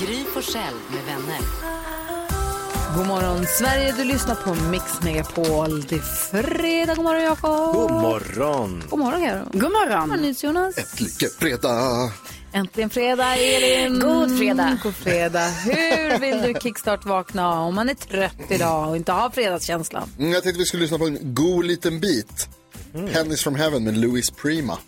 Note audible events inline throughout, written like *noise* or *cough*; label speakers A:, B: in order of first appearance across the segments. A: Gry Forssell med vänner.
B: God morgon Sverige, du lyssnar på Mix Megapol. Det är fredag. God morgon Jakob. God
C: morgon.
B: God morgon Karo. God morgon. Jonas.
D: Äntligen fredag!
B: Äntligen fredag Elin.
A: God fredag.
B: God fredag. Hur vill du kickstart-vakna om man är trött idag och inte har fredagskänslan?
D: Mm, Jag tänkte vi skulle lyssna på en god liten bit.
C: Mm.
D: Pennies from heaven med Louis Prima.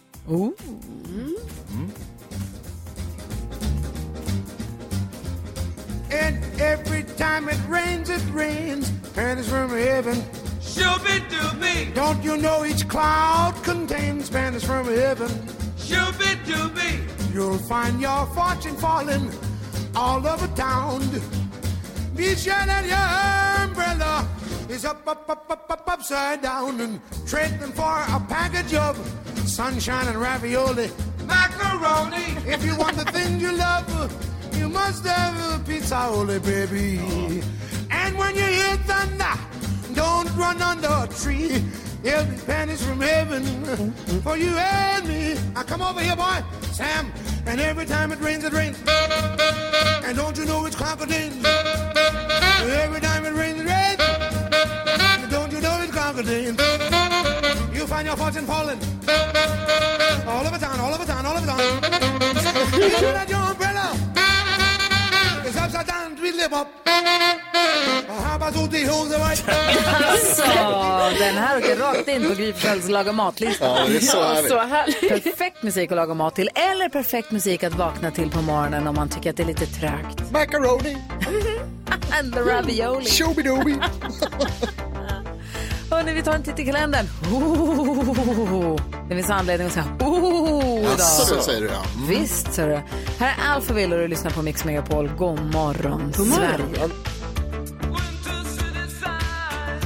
E: And every time it rains, it rains. Pennies from heaven.
F: Shooby dooby,
E: Don't you know each cloud contains pennies from heaven?
F: shooby dooby,
E: You'll find your fortune falling all over town. Be sure that your umbrella is up, up, up, up, up, upside down. And trade them for a package of sunshine and ravioli.
F: macaroni,
E: If you want the thing you love, you must have a pizzaole, baby. And when you hear thunder, don't run under a tree. There'll be pennies from heaven for you and me. Now come over here, boy, Sam. And every time it rains, it rains. And don't you know it's crocodiles? Every time it rains, it rains. And don't you know it's crocodiles? You find your fortune falling. All over town, all over town, all over town. Make sure that your umbrella is upside down, we live up. How about all the holes are
B: *laughs*
E: right?
B: Så, Alltså, den här åker rakt in på Gry Forssells laga matlista.
D: Ja, det är så härligt.
B: Perfekt musik att laga mat till eller perfekt musik att vakna till på morgonen om man tycker att det är lite trögt.
D: Macaroni,
B: *laughs* And the ravioli.
D: shooby-dooby.
B: Hörrni, vi tar en titt i kalendern. Ohohoho. Det finns anledning att säga ohohoho idag.
D: Jaså, det säger du ja. Mm.
B: Visst, ser du. Här är Alphaville och du lyssnar på Mix Megapol. God morgon, God Sverige.
F: winter city side.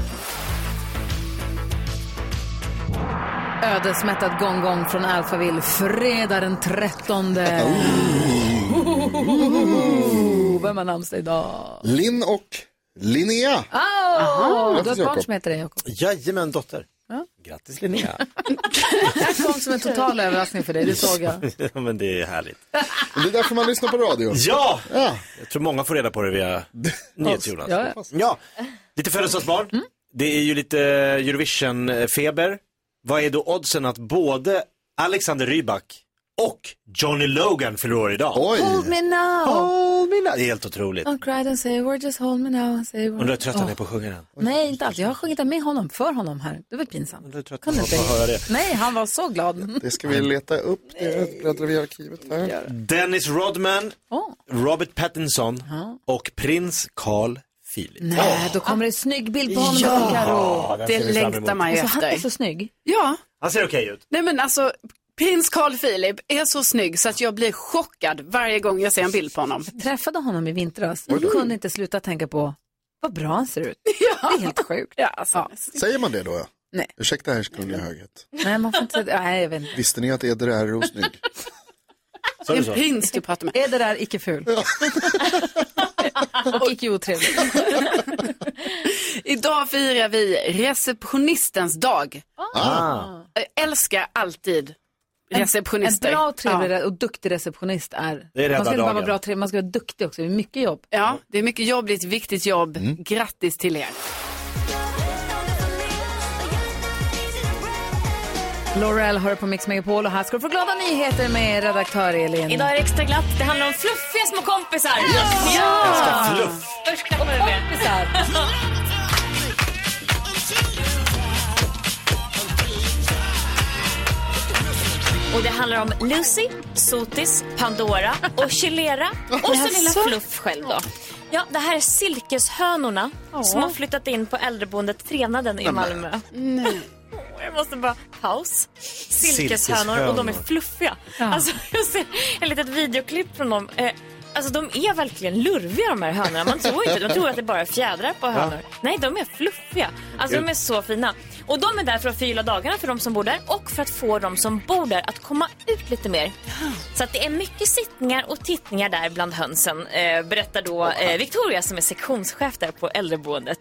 B: Ödesmättad gång-gång från Alphaville fredag den 13. Ohohoho. Vem har namnsdag idag?
D: Linn och Linnea.
B: Oh, du har
D: Grattis,
B: ett barn
D: Jakob.
B: som heter det, Jakob.
C: Jajamän, dotter. Grattis Linnea.
B: Det här kom som en total överraskning för dig, *laughs* det såg jag.
C: *laughs* Ja, Men det är härligt.
D: Det är därför man lyssnar på radio.
C: Ja!
D: Ja.
C: Jag tror många får reda på det
D: *laughs*
C: via NyhetsJonas.
B: Ja, Mm. ja.
C: Ja, lite födelsedagsbarn. Det är ju lite Eurovision-feber. Vad är då oddsen att både Alexander Rybak och Johnny Logan fyller år idag?
D: Oj!
B: Hold me now.
C: Åh, mina- Det är helt otroligt.
B: Don't cry, don't say a word, just hold me now. and Say a word.
C: Undrar hur trött
B: Åh.
C: han är på att sjunga den.
B: Nej, inte alls. Jag har sjungit med honom, för honom här. Det var pinsamt.
C: Undrar hur trött
B: Kan
C: han
B: du
C: var
B: inte?
C: på att höra det.
B: Nej, han var så glad.
D: Det ska vi leta upp. Det bläddrar vi i arkivet här.
C: Dennis Rodman,
B: Åh.
C: Robert Pattinson och prins Carl Philip.
B: Nej, Äh, då kommer det en snygg bild på honom. Ja. Karo.
C: den ser
G: Det
C: vi fram emot.
G: längtar man ju
B: Alltså, han är
G: efter.
B: så snygg.
G: Ja,
C: Han ser okej ut.
G: nej men alltså prins Carl Philip är så snygg så att jag blir chockad varje gång jag ser en bild på honom.
B: Träffade honom i vintras. Jag kunde inte sluta tänka på vad bra han ser ut.
G: *laughs*
B: Det är helt sjukt.
G: Ja, alltså.
D: Säger man det då? Ja?
B: Nej.
D: Ursäkta, Ers Kungliga Höghet.
B: Nej, man får inte... Nej, jag vet inte.
D: Visste ni att Eder är snygg?
C: Så är
G: Det
C: det
G: är en
C: så.
G: prins du pratar med.
B: Är det där icke ful? *laughs* Och icke otrevlig.
G: Idag firar vi receptionistens dag.
C: Ah.
G: Jag älskar alltid
B: En
G: receptionister.
B: bra, trevlig och duktig receptionist är...
C: Det är rädda
B: man ska inte bara vara
C: dagen.
B: bra trevlig, man ska vara duktig också. Det är mycket jobb.
G: Ja. ja, det är mycket jobb, det är ett viktigt jobb.
C: Mm.
G: Grattis till er.
B: Laurel hör på Mix Megapol och här ska du få glada nyheter med redaktör Elin.
A: Idag är det extra glatt. Det handlar om fluffiga små kompisar.
C: Ganska fluff.
A: Först kommer det med.
B: Kompisar.
A: Och det handlar om Lucy, Sotis, Pandora och Chilera. Och så lilla Fluff själv då. Ja, det här är silkeshönorna som har flyttat in på äldreboendet Trenaden i Malmö. Nej. Jag måste bara, paus. *laughs* Silkeshönor och de är fluffiga. Alltså, jag ser ett litet videoklipp från dem. Eh, alltså de är verkligen lurviga de här hönorna. Man tror inte, man tror att det bara är fjädrar på hönor. Nej, de är fluffiga. Alltså de är så fina. Och de är där för att förgylla dagarna för de som bor där och för att få de som bor där att komma ut lite mer. Så att det är mycket sittningar och tittningar där bland hönsen, eh, berättar då eh, Victoria som är sektionschef där på äldreboendet.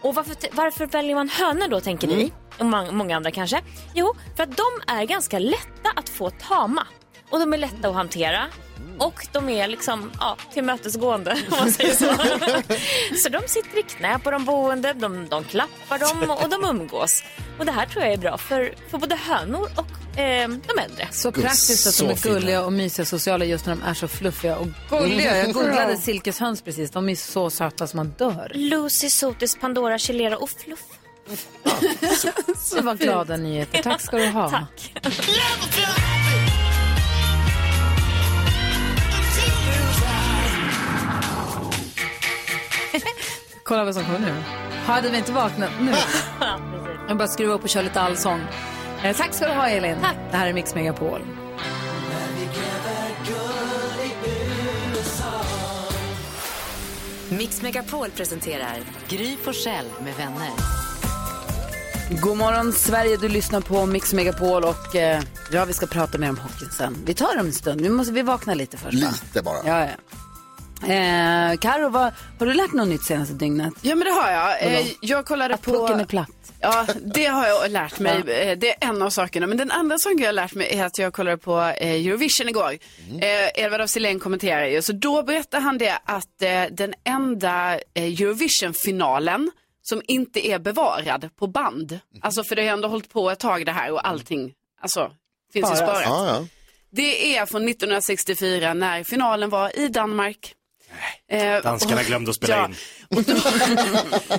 A: Och varför, varför väljer man hönor då, tänker ni? Och ma- många andra kanske. Jo, för att de är ganska lätta att få tama. Och de är lätta att hantera. Och de är liksom ja, tillmötesgående, om man säger så. så de sitter i knä på de boende, de, de klappar dem och de umgås. Och det här tror jag är bra för, för både hönor och eh, de äldre.
B: Så praktiskt att de är gulliga och mysiga sociala just när de är så fluffiga och gulliga. Jag googlade silkeshöns precis. De är så söta som man dör.
A: Lucy, Sotis, Pandora, Chilera och Fluff.
B: Det var glada nyheter. Tack ska du ha.
A: Tack.
B: Kolla vad som kommer nu. Hade vi inte vaknat nu? Jag bara skruva upp och köra lite allsång. Eh, tack ska du ha, Elin. Tack. Det här är Mix Megapol.
H: Mix Megapol presenterar Gry Forssell med vänner.
B: God morgon, Sverige. Du lyssnar på Mix Megapol och eh, ja, vi ska prata mer om hockeyn sen. Vi tar det om en stund. Vi, måste, vi vaknar lite först. va?
D: Lite bara.
B: Ja, ja. Eh, Karo, vad, har du lärt något nytt senaste dygnet?
G: Ja men det har jag. Eh, jag kollade på...
B: Plocken är platt.
G: Ja, det har jag lärt mig. Eh, Det är en av sakerna. Men den andra saken jag har lärt mig är att jag kollade på eh, Eurovision igår. Eh, Edvard af Sillén kommenterar ju. Så då berättar han det att eh, den enda eh, Eurovision-finalen som inte är bevarad på band. Alltså för det har ju ändå hållit på ett tag det här och allting. Alltså, finns ju sparat.
D: Ja, ja.
G: Det är från 1964 när finalen var i Danmark. Eh,
I: Danskarna
G: och-
I: glömde att spela in.
G: Och då,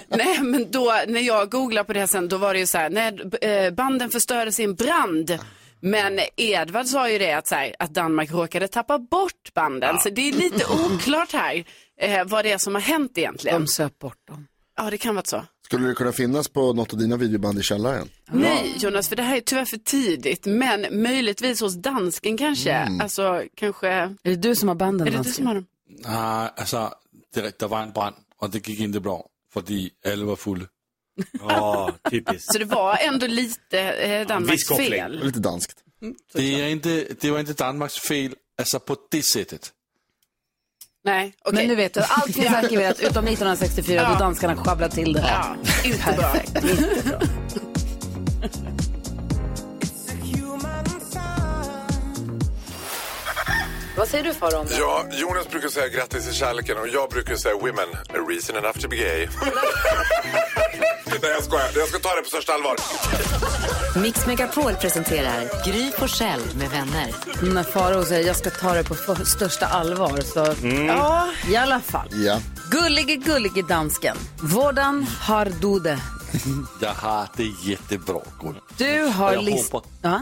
G: nej, men då när jag googlade på det här sen, då var det ju så här, när eh, banden förstördes i en brand. Men Edvard sa ju det att, så här, att Danmark råkade tappa bort banden. Så det är lite oklart här eh, vad det är som har hänt egentligen.
B: De söp bort dem.
G: Ja, det kan vara så.
D: Skulle det kunna finnas på något av dina videoband i källaren?
G: Nej, Jonas, för det här är tyvärr för tidigt. Men möjligtvis hos dansken kanske. Alltså, kanske...
B: Är det du som har banden?
G: Är det du
B: Nancy?
G: som har dem?
J: Nej, alltså, det, er- der var en brand, og det gik ikke bra, fordi alle var fulde.
I: Ja, typiskt.
B: *laughs*
G: Så det var ändå lite eh, Danmarks
I: Viss koppling.
G: fel.
D: Lite danskt.
J: Det, er ikke, det var ikke Danmarks fel, altså på det sättet.
G: Nej, okej.
B: Men nu vet du, allt finns arkiverat utom 1964 då
G: Ja.
B: danskarna sjabblade till det.
G: Ja, inte bra.
B: Vad säger du Farao om det?
F: Ja, Jonas brukar säga grattis i kärleken och jag brukar säga women, a reason enough to be gay. Nej, jag skojar. Jag ska ta det på största allvar.
H: Mix Megapol presenterar Gry Forssell med vänner.
B: När Farao säger jag ska ta det på för- största allvar så
G: Mm.
B: ja, i alla fall.
J: *laughs*
D: Ja.
B: Gullige, gullige dansken. Vårdan har du det.
J: Jeg har det jättebra, Gun.
B: Du har,
J: Jag
B: list-
J: hoppas-
B: ja,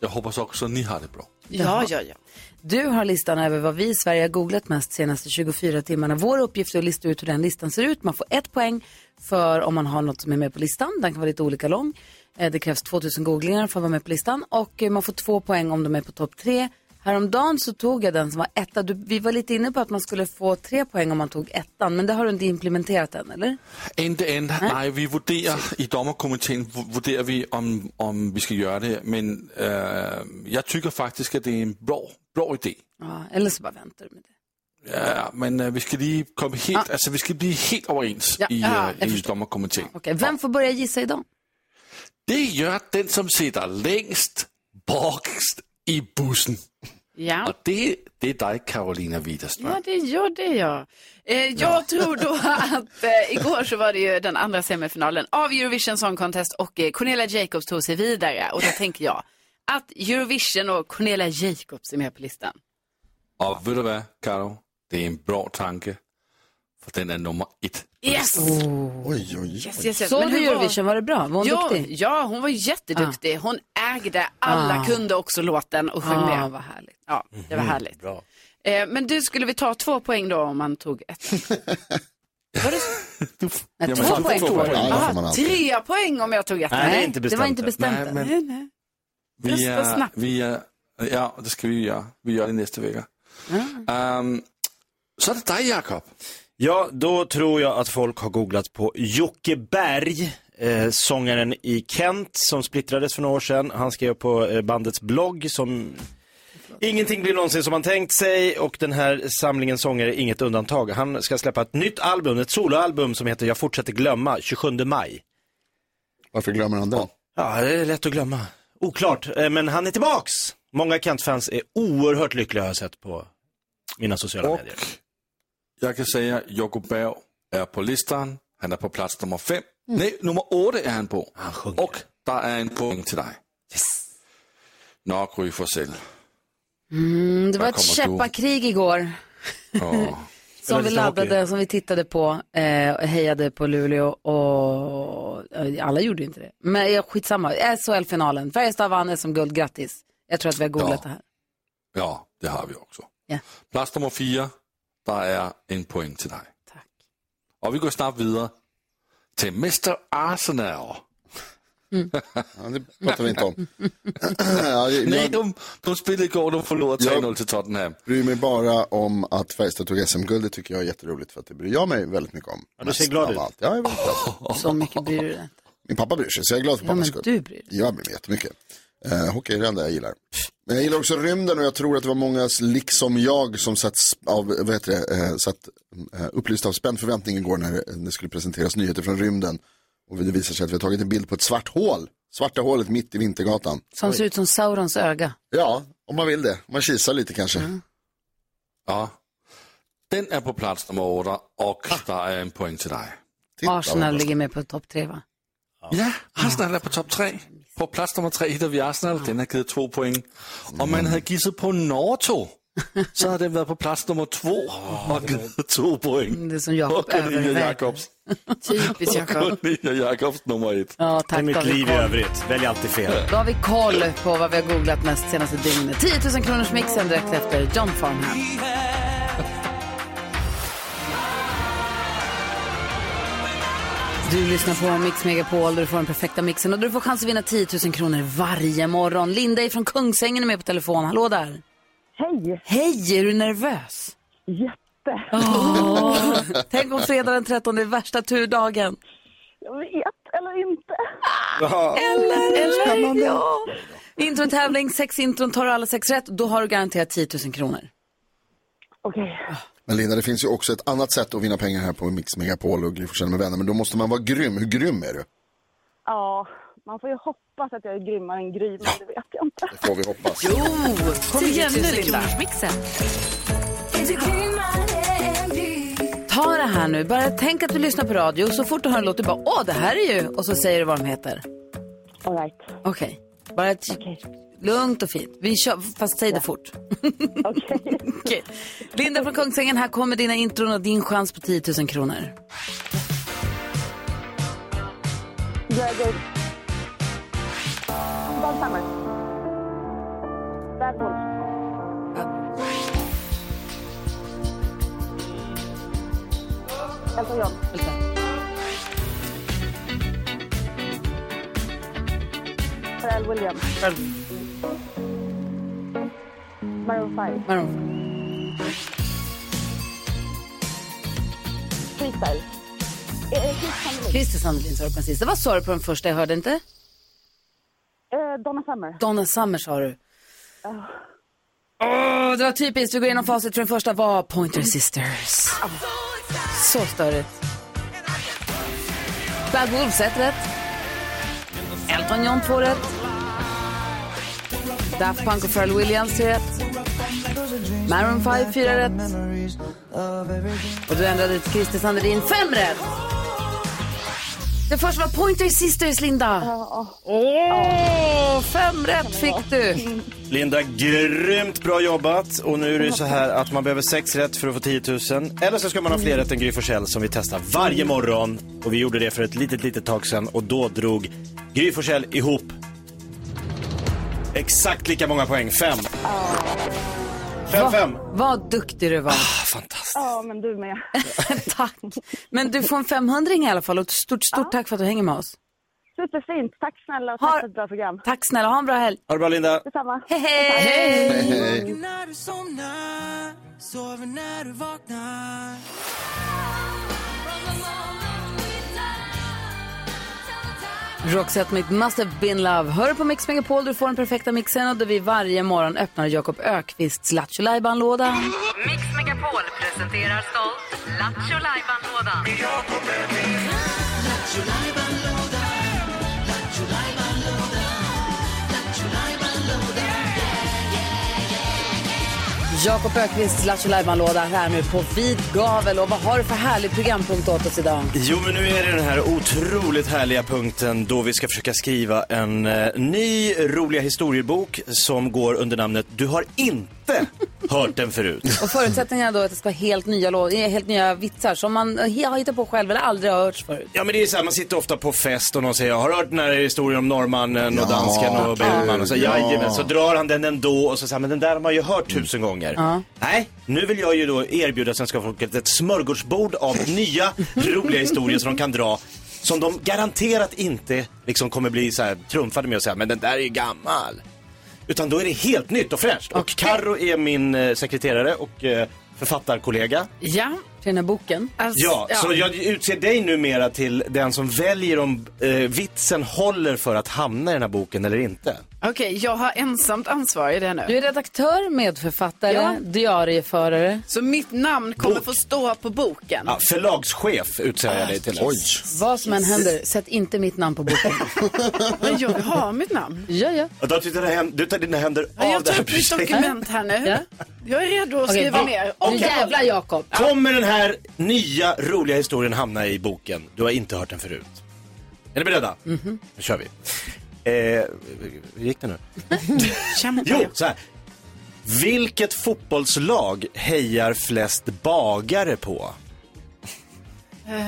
J: Jeg håber så også, at ni har det bra.
G: Ja, ja, ja.
B: du har listan över vad vi i Sverige har googlat mest senaste 24 timmarna. Vår uppgift är att lista ut hur den listan ser ut. Man får ett poäng för om man har något som är med på listan. Den kan vara lite olika lång. Eh, Det krävs 2000 googlingar för att vara med på listan. Och eh, man får två poäng om de är på topp tre. Häromdagen så tog jag den som var etta. Du, vi var lite inne på att man skulle få tre poäng om man tog ettan. Men det har du inte implementerat än, eller?
J: Inte än. Nej, vi vurderer i dommerkomiteen vu- vurderer vi om, om vi skal gøre det, men øh, jeg tykker faktisk, at det er en bra, bra idé.
B: Ja, eller så bara väntar du med det. Ah.
J: Ja, men øh, vi skal lige komme helt, altså vi skal blive helt overens
B: Ja,
J: i,
B: ja, jeg
J: øh, i dommerkomiteen.
B: Okej, vem får börja gissa idag?
J: Det gør den, som sitter længst borgst i bussen.
G: Ja.
J: Og det, det er dig, Carolina Widerström.
G: Ja, det gör det ja. Eh, jag tror då att eh, igår så var det ju den andra semifinalen av Eurovision Song Contest och eh, Cornelia Jacobs tog sig vidare. Och då tänker jag att Eurovision och Cornelia Jacobs är med på listan.
J: Og ved du hvad, Caro? Det er en bra tanke, for den er nummer et.
G: Yes!
D: Oj, oj,
G: yes,
D: oj.
G: yes, yes.
B: Såg
G: Men hur
B: du
G: var-
B: Eurovision? Var det bra? Var hon
G: Ja,
B: duktig?
G: ja, hon Ah. var jätteduktig. Hon ägde, alla
B: Ah.
G: kunde också låten och sjöng
B: Ah,
G: med.
B: vad härligt.
G: Ja, det var härligt.
I: Bra.
G: Eh, men du, skulle vi ta två poäng då om man tog *laughs* ett?
B: Nej,
J: Jamen,
B: två
J: du får
B: poäng
J: två
B: tror jag.
D: Ja, det får man
G: Aha,
D: alltid.
G: tre poäng om jag tog ett.
I: Nej, det är inte
B: det
I: bestämt
B: var inte
I: än.
B: bestämt
J: Nej,
B: än.
J: men-
G: Nej, nej.
J: Vi
G: Rösta
J: er,
K: *laughs*
G: snabbt.
B: Mm.
J: vi er, ja, det skal vi gøre. Vi gør det næste uge. Um,
C: Så det dig Jakob. Ja, då tror jag att folk har googlat på Jocke Berg, eh, sångaren i Kent som splittrades för några år sedan. Han skrev på eh, bandets blogg som Ingenting blir någonsin som man tänkt sig och den här samlingen sånger är inget undantag. Han ska släppa ett nytt album, ett soloalbum som heter Jag fortsätter glömma, 27 maj.
D: Varför glömmer han det?
C: Ja, det är lätt att glömma. Oklart, eh, men han är tillbaks! Många Kent-fans är oerhört lyckliga har jag sett på mina sociala medier.
J: Jag kan säga Jocko Berg är på listan. Han är på plats nummer fem. Nej, nummer åtta är Mm. han på. och där är en poäng till dig. Yes. Nå, Gry *laughs* Forssell.
B: Mm, det var
J: Där
B: ett
J: kommer du.
B: käppakrig igår.
J: Ja.
B: *laughs* Som vi laddade, som vi tittade på, eh, och hejade på Luleå och eh, alla gjorde ju inte det. Men jag skitsamma, SHL-finalen, Färjestad vann som guld, grattis. Jag tror att vi har googlat det här.
J: Ja, det har vi också.
B: Ja.
J: Plats nummer fyra, där är en poäng till dig. Och vi går snabbt vidare till Mr Arsenal. Mm. *laughs*
D: pratar vi inte om.
J: Nej, de, de spelade igår och de förlorade 3-0 till Tottenham.
D: bryr mig bara om att Färjestad tog SM-guld. Det tycker jag är jätteroligt för att det bryr jag mig väldigt mycket om.
C: Ja, du ser glad ut.
D: Ja, jag är väldigt glad.
B: *laughs* Så mycket bryr du dig
D: Min pappa bryr sig, så jag är glad för
B: Ja, men
D: pappas skull.
B: du bryr dig.
D: Jag bryr mig jättemycket. Uh, hockey är det enda jag gillar. Men jag gillar också rymden och jag tror att det var många, liksom jag, som satt, s- av, vad heter det, eh, satt eh, upplysta av spänd förväntning igår när det skulle presenteras nyheter från rymden. Och det visar sig att vi har tagit en bild på ett svart hål. Svarta hålet mitt i Vintergatan.
B: Som ser ut som Saurons öga.
D: Ja, om man vill det. Om Man kisar lite kanske.
B: Mm.
J: Ja. Den är på plats nummer åtta och där är en poäng till dig.
B: Arsenal ligger med på topp tre va?
J: Ja, Arsenal är på topp tre. På plats nummer tre hittar vi Arsenal. Den har givit två poäng. Om man hade gissat på *laughs* Norto så hade den varit på plats nummer två och givit två poäng.
B: Det är som Jakob
J: Och Cornelia
B: överväger.
J: Jakobs.
B: *laughs* Typiskt
J: Och Cornelia Jakobs nummer ett.
B: Ja, tack, Det är mitt David liv i Korn.
C: övrigt. Välj alltid fel.
B: Då har vi koll på vad vi har googlat mest senaste dygnet. 10 000 kronors mixen direkt efter John Farnham. Du lyssnar på Mix Megapol där du får den perfekta mixen och du får chans att vinna 10 000 kronor varje morgon. Linda från Kungsängen är med på telefon. Hallå där! Hej! Hej! Är du nervös? Jätte! Åh, tänk om fredag den 13 är värsta turdagen.
L: Jag vet, eller inte.
B: Eller, eller,
L: Spännande.
B: ja. Introtävling, sex intron, tar du alla sex rätt, då har du garanterat 10 000 kronor.
D: Men Linda, det finns ju också ett annat sätt att vinna pengar här på Mix Megapol och Gry Forssell med vänner. Men då måste man vara grym. Hur grym är du?
L: Ja, man får ju hoppas att jag är grymmare än Gry, men det vet jag inte.
D: Det får vi hoppas.
L: Jo,
B: kom igen nu, Linda.
H: mixen.
B: Ta det här nu, bara tänk att du lyssnar på radio, så fort du hör en låt, du bara åh det här är ju, och så säger du vad de heter.
L: All right.
B: Okej, bara ett... lugnt och fint. Vi kör, fast säg
L: *laughs*
B: det fort. *laughs* Okej. Linda från Kungsängen, här kommer dina intron och din chans på 10 000 kronor.
L: Gregor. Bad Summer. Bad Wolf. Elton John. Pharrell Williams. Maroon 5.
B: Maroon.
L: Freestyle. Eh, eh, Chris Tomlin.
B: Christer Sandelin sa du precis. Vad sa du på den första? Jag hörde inte.
L: Eh, Donna Summer.
B: Donna Summer sa du. Åh, det var typiskt. Vi går igenom facit för den första var Pointer Sisters. Så störigt. Bad Wolves, ett rätt. Elton John, två rätt. Daft Punk och Pharrell Williams, tre rätt. Maroon 5, fyra rätt. Och du ändrade till Christer Sandelin, fem rätt. Det första var Pointer Sisters, Linda. Åh, fem rätt fick du.
C: Linda, grymt bra jobbat. Och nu är det ju så här att man behöver sex rätt för att få 10 000. Eller så ska man ha fler rätt än Gry Forssell som vi testar varje morgon. Och vi gjorde det för ett litet, litet tag sedan och då drog Gry Forssell ihop exakt lika många poäng. Fem. Fem, fem.
B: Ah.
C: Ah,
B: Vad duktig du var.
L: Ja, men du med.
B: Men du får en 500 i alla fall och ett stort, stort tack för att du hänger med oss.
L: Superfint. Tack snälla och tack för ett bra program.
B: Tack snälla, ha en bra helg.
C: Ha det bra Linda.
L: Detsamma.
B: Hej, hej!
E: När du somnar, sover när du vaknar.
B: Roxette med Must Have Been Love. Hör på Mix Megapol, du får den perfekta mixen och där vi varje morgon öppnar Jakob Ökvists Lattjo låda
H: Mix Megapol presenterar stolt Lattjo Lajban-lådan.
B: Jakob Ökvists Lattjo låda här nu på vid gavel. Och vad har du för härlig programpunkt åt oss idag?
C: Jo, men nu är det den här otroligt härliga punkten då vi ska försöka skriva en eh, ny roliga historiebok som går under namnet Du har
D: *laughs*
C: inte hört den förut.
B: Och förutsättningarna då är att det ska vara helt nya, lå- eh, helt nya vitsar som man he- har hittat på själv eller aldrig har hörts förut.
C: Ja men det är så här, man sitter ofta på fest och någon säger, har du hört den här historien om norrmannen och
D: Ja,
C: dansken och Bellman? Och så,
D: gud, ja.
C: jajamän, så drar han den ändå och så säger men den där har man ju hört tusen gånger.
B: Ja.
C: Nej, nu vill jag ju då erbjuda svenska folket ett smörgåsbord av nya roliga historier som de kan dra. Som de garanterat inte liksom kommer bli så här trumfade med och säga, men den där är ju gammal. Utan då är det helt nytt och fräscht. Och Karo är min eh, sekreterare och eh, författarkollega.
G: Ja.
B: Till den här boken.
C: Alltså, Ja, så jag utser dig numera till den som väljer om eh, vitsen håller för att hamna i den här boken eller inte.
G: Okej, jag har ensamt ansvar i det nu.
B: Du är redaktör, medförfattare,
G: Ja.
B: diarieförare.
G: Så mitt namn kommer få stå på boken.
C: Ja, förlagschef utser jag dig till. Oj.
B: Vad som än händer, sätt inte mitt namn på *laughs* boken.
G: Men jag vill ha mitt
B: *laughs*
G: namn.
B: Ja, ja.
C: Du tar dina händer, du tar dina händer
G: Ja,
C: av
G: jag
C: det
G: tar
C: här
G: upp mitt
C: projektet.
G: dokument här nu. Jag är redo att
B: Okej,
G: skriva
B: vi-
G: ner.
B: Nu jävlar Jakob.
C: Kommer den här nya roliga historien hamna i boken? Du har inte hört den förut. Är ni
G: Mm.
C: beredda?
B: Mm-hmm.
G: *laughs*
C: Mhm. Nu kör vi. Eh, hur gick det nu? jo,
G: *laughs*
C: så här. Vilket fotbollslag hejar flest bagare på?
G: Eh,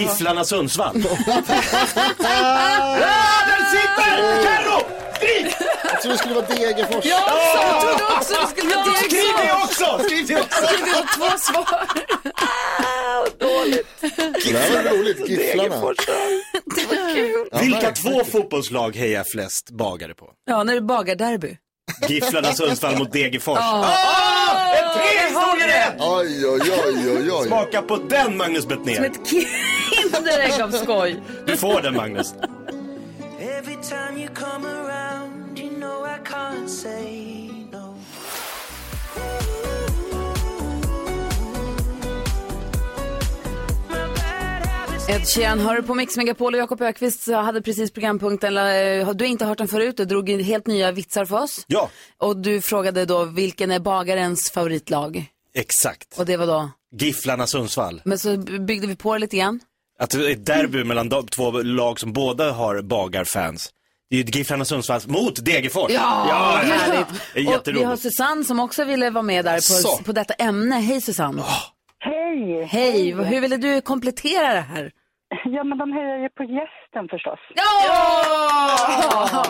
C: Gifflarna Sundsvall. Ah, där sitter! Carro! Skriv!
D: Oh. Jag tror det skulle vara Degerfors.
B: Ja, jag trodde också det skulle vara Degerfors.
C: Skriv det också! Skriv det också!
G: Skriv det två svar.
D: Det här var roligt, Gifflarna.
C: Degerfors. Vilka två fotbollslag hejar flest bagare på?
B: Ja, när det är bagarderby.
C: Gifflarna Sundsvall mot Degerfors.
B: en
C: tre historier rätt!
D: Oj, oj, oj, oj, oj.
C: Smaka på den Magnus
B: Som
C: Bettner.
B: ett kinderägg av skoj.
C: Du får den Magnus.
E: Every time you come around, you know I can't say no.
B: Ed Sheeran hör på Mix Megapol och Jakob Ökvist hade precis programpunkten, eller, eh, du har inte hört den förut, du drog in helt nya vitsar för oss.
C: Ja,
B: Och du frågade då vilken är bagarens favoritlag?
C: exakt.
B: Och det var då,
C: Gifflarna Sundsvall.
B: men så byggde vi på det lite grann.
C: Att det är ett derby mellan de- två lag som båda har bagarfans. Det är ju Gifflarna Sundsvall mot Degerfors.
B: Ja, härligt.
C: Det är
B: Och vi har
C: jätteroligt.
B: Susanne som också ville vara med där
C: Så.
B: på, på detta ämne. Hej Susanne.
D: Ah.
M: Hej!
B: Hej, hur ville du komplettera det här?
M: Ja, men de hejar ju på gästen förstås.
B: Ja!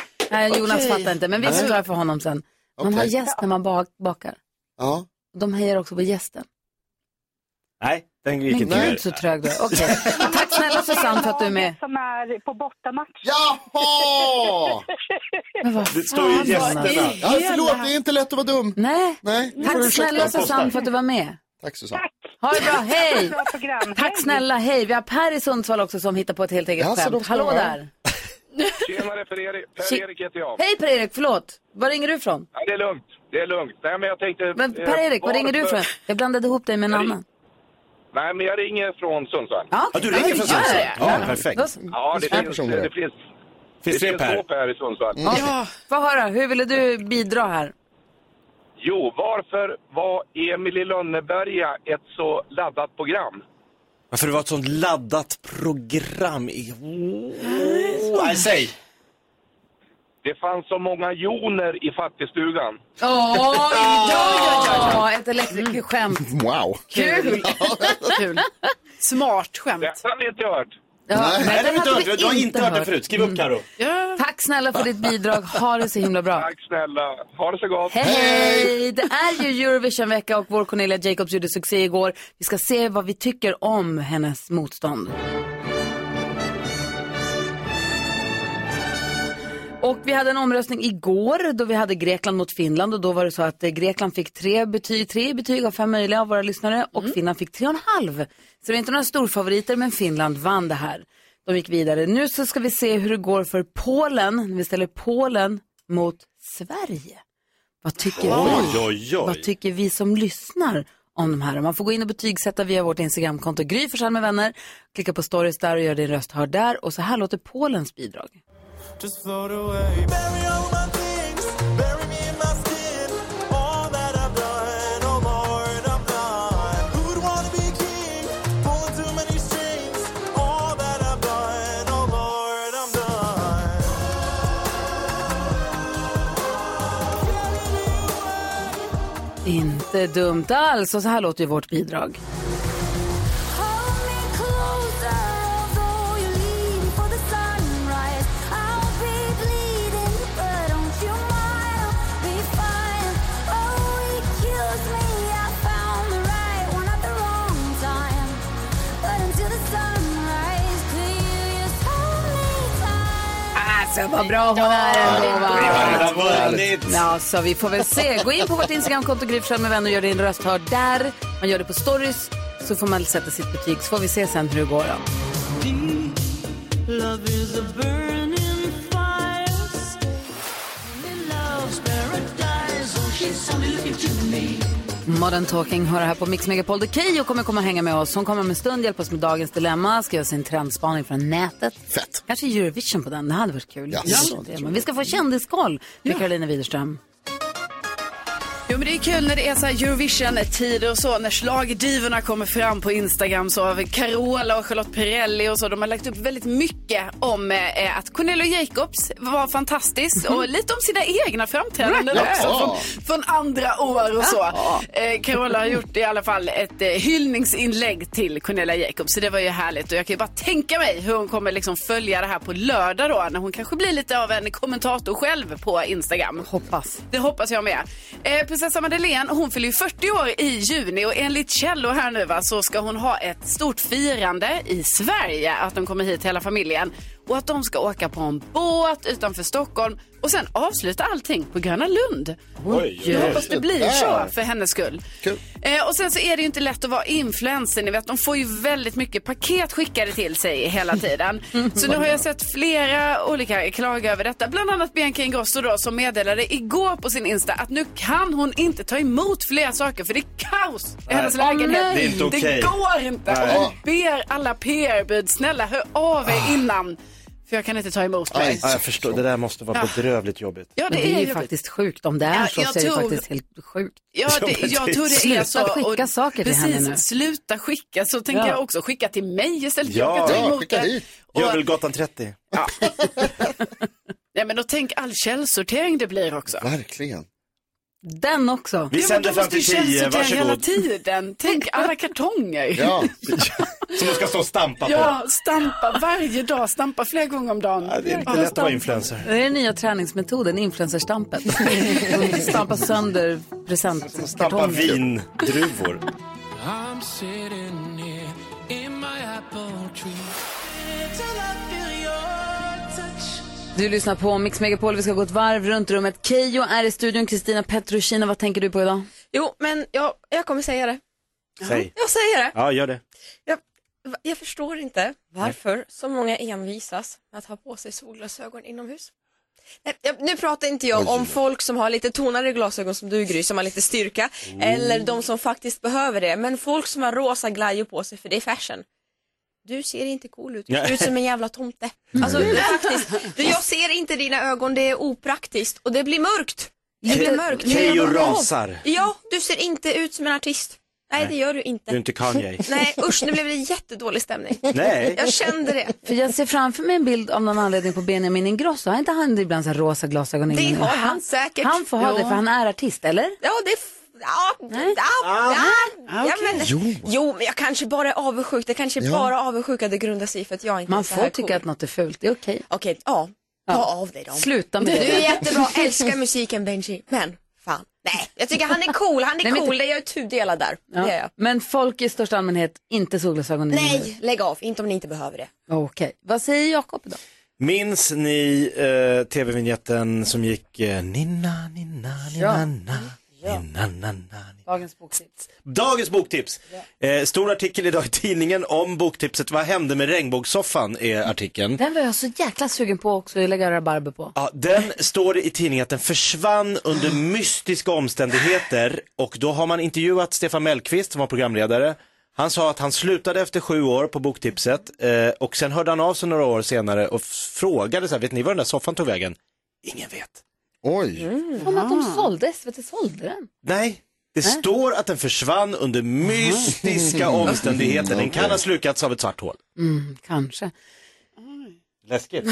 B: *laughs* Nej, Jonas
M: Okej.
B: fattar inte, men vi
M: Nej.
B: förklarar för honom sen. Man har
M: Okej.
B: gäst när man bak- bakar.
D: Ja.
B: De hejar också på gästen.
C: Nej, den gick
B: Men
C: inte
B: gud så trög du är. Okej. Tack snälla Susanne för att du är med.
M: Som är på bortamatch. *laughs*
D: Jaha!
B: Men vad
D: Det står ju
B: fan,
D: gästerna.
B: Jonas.
D: Ja, förlåt, det är inte lätt att vara dum.
B: Nej.
D: Nej, nu får du
B: Tack
D: ursäkta.
B: snälla Susanne för att du var med.
D: Tack Susanne.
B: Ha det bra, hej! Tack snälla, hej! Vi har Per i Sundsvall också som hittar på ett helt eget
N: Ja, så de
B: skämt.
N: ska
B: E Hallå
N: vara.
B: där!
N: *laughs* Tjenare Per-Erik, Per-Erik heter jag.
B: Hej Per-Erik, förlåt! Var ringer du ifrån?
N: Ja, det är lugnt, det är lugnt. Nej, men jag tänkte...
B: Men
N: eh,
B: Per-Erik, var ringer du
N: varför-
B: ifrån? Jag blandade ihop dig med en annan.
N: Nej, men jag ringer från Sundsvall.
B: Ja, okej. Ja, du ringer från Ja, Sundsvall. ja, ja. Ja, perfekt. Då så.
N: Ja, det finns, det, finns, det finns,
C: Finns det Per?
N: två Per i Sundsvall.
B: Ja, få höra, hur ville du bidra här?
N: Jo, varför var Emil i Lönneberga ett så laddat program?
C: *laughs* Varför det var ett sånt laddat program i... Oh, nej, säg!
N: Det fanns så många joner i fattigstugan.
B: Oj, ja, ja, ja! Ett elektrikerskämt.
N: Mm.
D: Wow.
B: Kul!
G: Kul. Smart skämt.
N: Det har vi inte hört.
B: Ja,
C: Nej,
B: men
C: det har
B: den
C: vi inte
B: hade
C: hört. Du har inte hört den förut. Skriv
B: Mm.
C: upp Karo.
B: Tack snälla för ditt bidrag. Ha det så himla bra.
N: Tack snälla. Ha det så gott.
B: Hej! Det är ju Eurovision-vecka och vår Cornelia Jacobs gjorde succé igår. Vi ska se vad vi tycker om hennes motstånd. Och vi hade en omröstning igår då vi hade Grekland mot Finland och då var det så att eh, Grekland fick tre betyg, tre betyg av fem möjliga av våra lyssnare och Finland fick tre och en halv. Så det är inte några storfavoriter men Finland vann det här. De gick vidare. Nu så ska vi se hur det går för Polen, när vi ställer Polen mot Sverige. Vad tycker
C: Oj,
B: vi?
C: oj, oj.
B: Vad tycker vi som lyssnar om de här? Man får gå in och betygsätta via vårt Instagramkonto Gry Forssell med vänner. Klicka på stories där och gör din röst hörd där. Och så här låter Polens bidrag.
E: Just float away. Bury all my things, bury me in my skin. All that I've done, no more and I'm done. Who'd wanna be king? Pulling too many strings. All that I've done, no more and I'm done.
B: Inte dumt alls. Och så här låter ju vårt bidrag.
I: oh, Oh,
B: Alltså vad bra hon är ändå va?
E: Vi har redan
C: vunnit.
B: Ja, så vi får väl se. Gå in på vårt Instagramkonto Gry Forssell med vänner och gör din röst hörd där. Man gör det på stories så får man sätta sitt betyg så får vi se sen hur det går då.
E: Love is a burning fire. Love's paradise. Oh, she's only looking to me.
B: Modern Talking hör här på Mix Megapol. Det är Keyyo kommer komma och hänga med oss. Hon kommer om en stund hjälpa oss med dagens dilemma, ska göra sin trendspaning från nätet.
D: Fett.
B: Kanske Eurovision på den, det hade varit kul.
G: Ja.
B: Jag såg det. Men vi ska få kändiskoll med Karolina Widerström.
G: Jo men det är kul när det är så här Eurovision-tider och så, när schlagerdivorna kommer fram på Instagram så har vi Carola och Charlotte Perrelli och så, de har lagt upp väldigt mycket om eh, att Cornelia Jacobs var fantastisk och lite om sina egna framträdanden
E: Jaha.
G: också från, från andra år och så.
E: Jaha.
G: Eh, Carola har gjort i alla fall ett eh, hyllningsinlägg till Cornelia Jacobs så det var ju härligt och jag kan ju bara tänka mig hur hon kommer liksom följa det här på lördag då när hon kanske blir lite av en kommentator själv på Instagram.
B: Hoppas.
G: Det hoppas jag med. Eh, prinsessa Madeleine, hon fyller ju 40 år i juni och enligt källor här nu va, så ska hon ha ett stort firande i Sverige. Att de kommer hit hela familjen och att de ska åka på en båt utanför Stockholm och sen avsluta allting på Gröna Lund.
E: Oj,
G: jag
E: oj,
G: hoppas
E: oj.
G: det blir
E: Där.
G: så för hennes skull. Eh, och sen så är det ju inte lätt att vara influencer, ni vet de får ju väldigt mycket paket skickade till sig
E: *laughs*
G: hela tiden. så nu har jag sett flera olika klaga över detta, bland annat Bianca Ingrosso då som meddelade igår på sin Insta att nu kan hon inte ta emot fler saker för det är kaos i
E: Nej.
G: hennes
E: Åh,
G: lägenhet.
E: nej. Det är inte okej.
G: det går inte!
E: Nej. Ah.
G: Och hon ber alla PR-bud, snälla hör av er innan för jag kan inte ta emot dig.
C: Ja, jag förstår, det där måste vara
G: Ja.
C: bedrövligt jobbigt.
G: Ja,
B: Men
G: det
B: det
G: är
B: är ju
G: jobbigt.
B: faktiskt sjukt. Om det är
G: Ja,
B: så,
G: jag
B: så är det
G: tror-
B: faktiskt helt sjukt.
G: Ja, det, jag tror det är
B: Sluta
G: så.
B: skicka
G: och-
B: saker till
G: precis,
B: henne nu.
G: Sluta skicka, så tänker
C: Ja.
G: jag också. Skicka till mig istället. jag
C: Ja,
G: kan ta emot det.
C: Gör väl gatan 30.
G: Nej, men då tänk all källsortering det blir också.
D: Verkligen.
B: Den också.
C: Vi sänder fram till 10,
G: Källsortering hela
C: varsågod.
G: tiden. Tänk alla kartonger.
C: *laughs* Som du ska stå och stampa
G: *laughs* Ja, stampa varje dag, stampa flera gånger om dagen.
C: på. Det är inte lätt att vara influencer.
B: Det är den nya
G: *laughs*
B: träningsmetoden, influencerstampet. Stampa sönder presentkartonger.
C: Stampa vindruvor.
O: *laughs*
E: I'm sitting here in my apple tree. Till I feel your touch.
B: Du lyssnar på Mix Megapol. Vi ska gå ett varv runt rummet. Keyyo är i studion. Kristina Petrushina, vad tänker du på idag?
O: Jo, men jag, jag kommer säga det.
C: Säg.
O: Jag säger det.
C: Ja, gör det.
O: Va- Jag förstår inte varför så många envisas med att ha på sig solglasögon inomhus. Nej, jag- Eh, Nu pratar inte jag om folk som har lite tonare glasögon som du Gry, som har lite styrka, eller de som faktiskt behöver det, men folk som har rosa glajjor på sig för det är fashion. Du ser inte cool ut, du ser
A: Nej.
O: ut som en jävla tomte.
C: Mm.
O: Alltså
A: Nej.
O: det är faktiskt, du, jag ser inte dina ögon, det är opraktiskt och det blir mörkt. Det blir
C: Ke-
O: mörkt.
C: Keyyo rasar.
O: Ja, du ser inte ut som en artist. Nej,
C: Nej.
O: det gör du inte.
C: Du är inte Kanye.
O: Nej, usch, nu blev det jättedålig stämning.
C: Nej.
O: *laughs* Jag kände det.
B: För jag ser framför mig en bild av någon anledning på Benjamin Ingrosso. Har inte han ibland så här rosa glasögon?
O: Det
B: innan?
O: har han säkert.
B: Han får ha
O: Ja.
B: det för han är artist, eller?
O: Ja, det... är f- Ja, ja, ja, ja, men,
B: Jo.
O: jo, men jag kanske bara är avundsjuk. Det kanske
B: Ja.
O: bara avundsjuka det grundar sig i för att jag inte är
B: Man
O: så
B: får
O: här
B: tycka
O: cool.
B: att något är fult, det är okej.
O: Okej, ja. Ta av dig dem.
B: Sluta med
O: du
B: det.
O: är
B: *laughs*
O: jättebra, älskar musiken Benji, men fan. Nej, jag tycker han är cool, han är
B: Nej, men-
O: cool. Jag är tudelad där.
B: Ja.
O: Det är jag.
B: Men folk i största allmänhet, inte solglasögon i
O: Nej,
B: huvudet.
O: lägg av, inte om ni inte behöver det.
B: Okej, vad säger Jakob då?
C: Minns ni eh, tv-vignetten som gick eh, Ninna, ninna,
B: Ja.
C: ninna, na, ninna, na, na.
B: Dagens boktips.
C: Dagens boktips! Eh, stor artikel idag i tidningen om boktipset. Vad hände med regnbågssoffan är artikeln.
B: Den var jag så jäkla sugen på också att lägga rabarber på.
C: Ja, den står det i tidningen att den försvann under mystiska omständigheter och då har man intervjuat Stefan Mellqvist som var programledare. Han sa att han slutade efter sju år på Boktipset eh, och sen hörde han av sig några år senare och f- frågade så här, vet ni var den där soffan tog vägen? Ingen vet.
D: Oj.
G: Mm.
B: Som att
G: Ah.
B: de sålde, SVT sålde den.
C: Nej, det står att den försvann under mystiska
B: Mhm.
C: omständigheter. Den kan
B: Okej.
C: ha slukats av ett svart hål.
B: Mm, kanske.
C: Läskigt.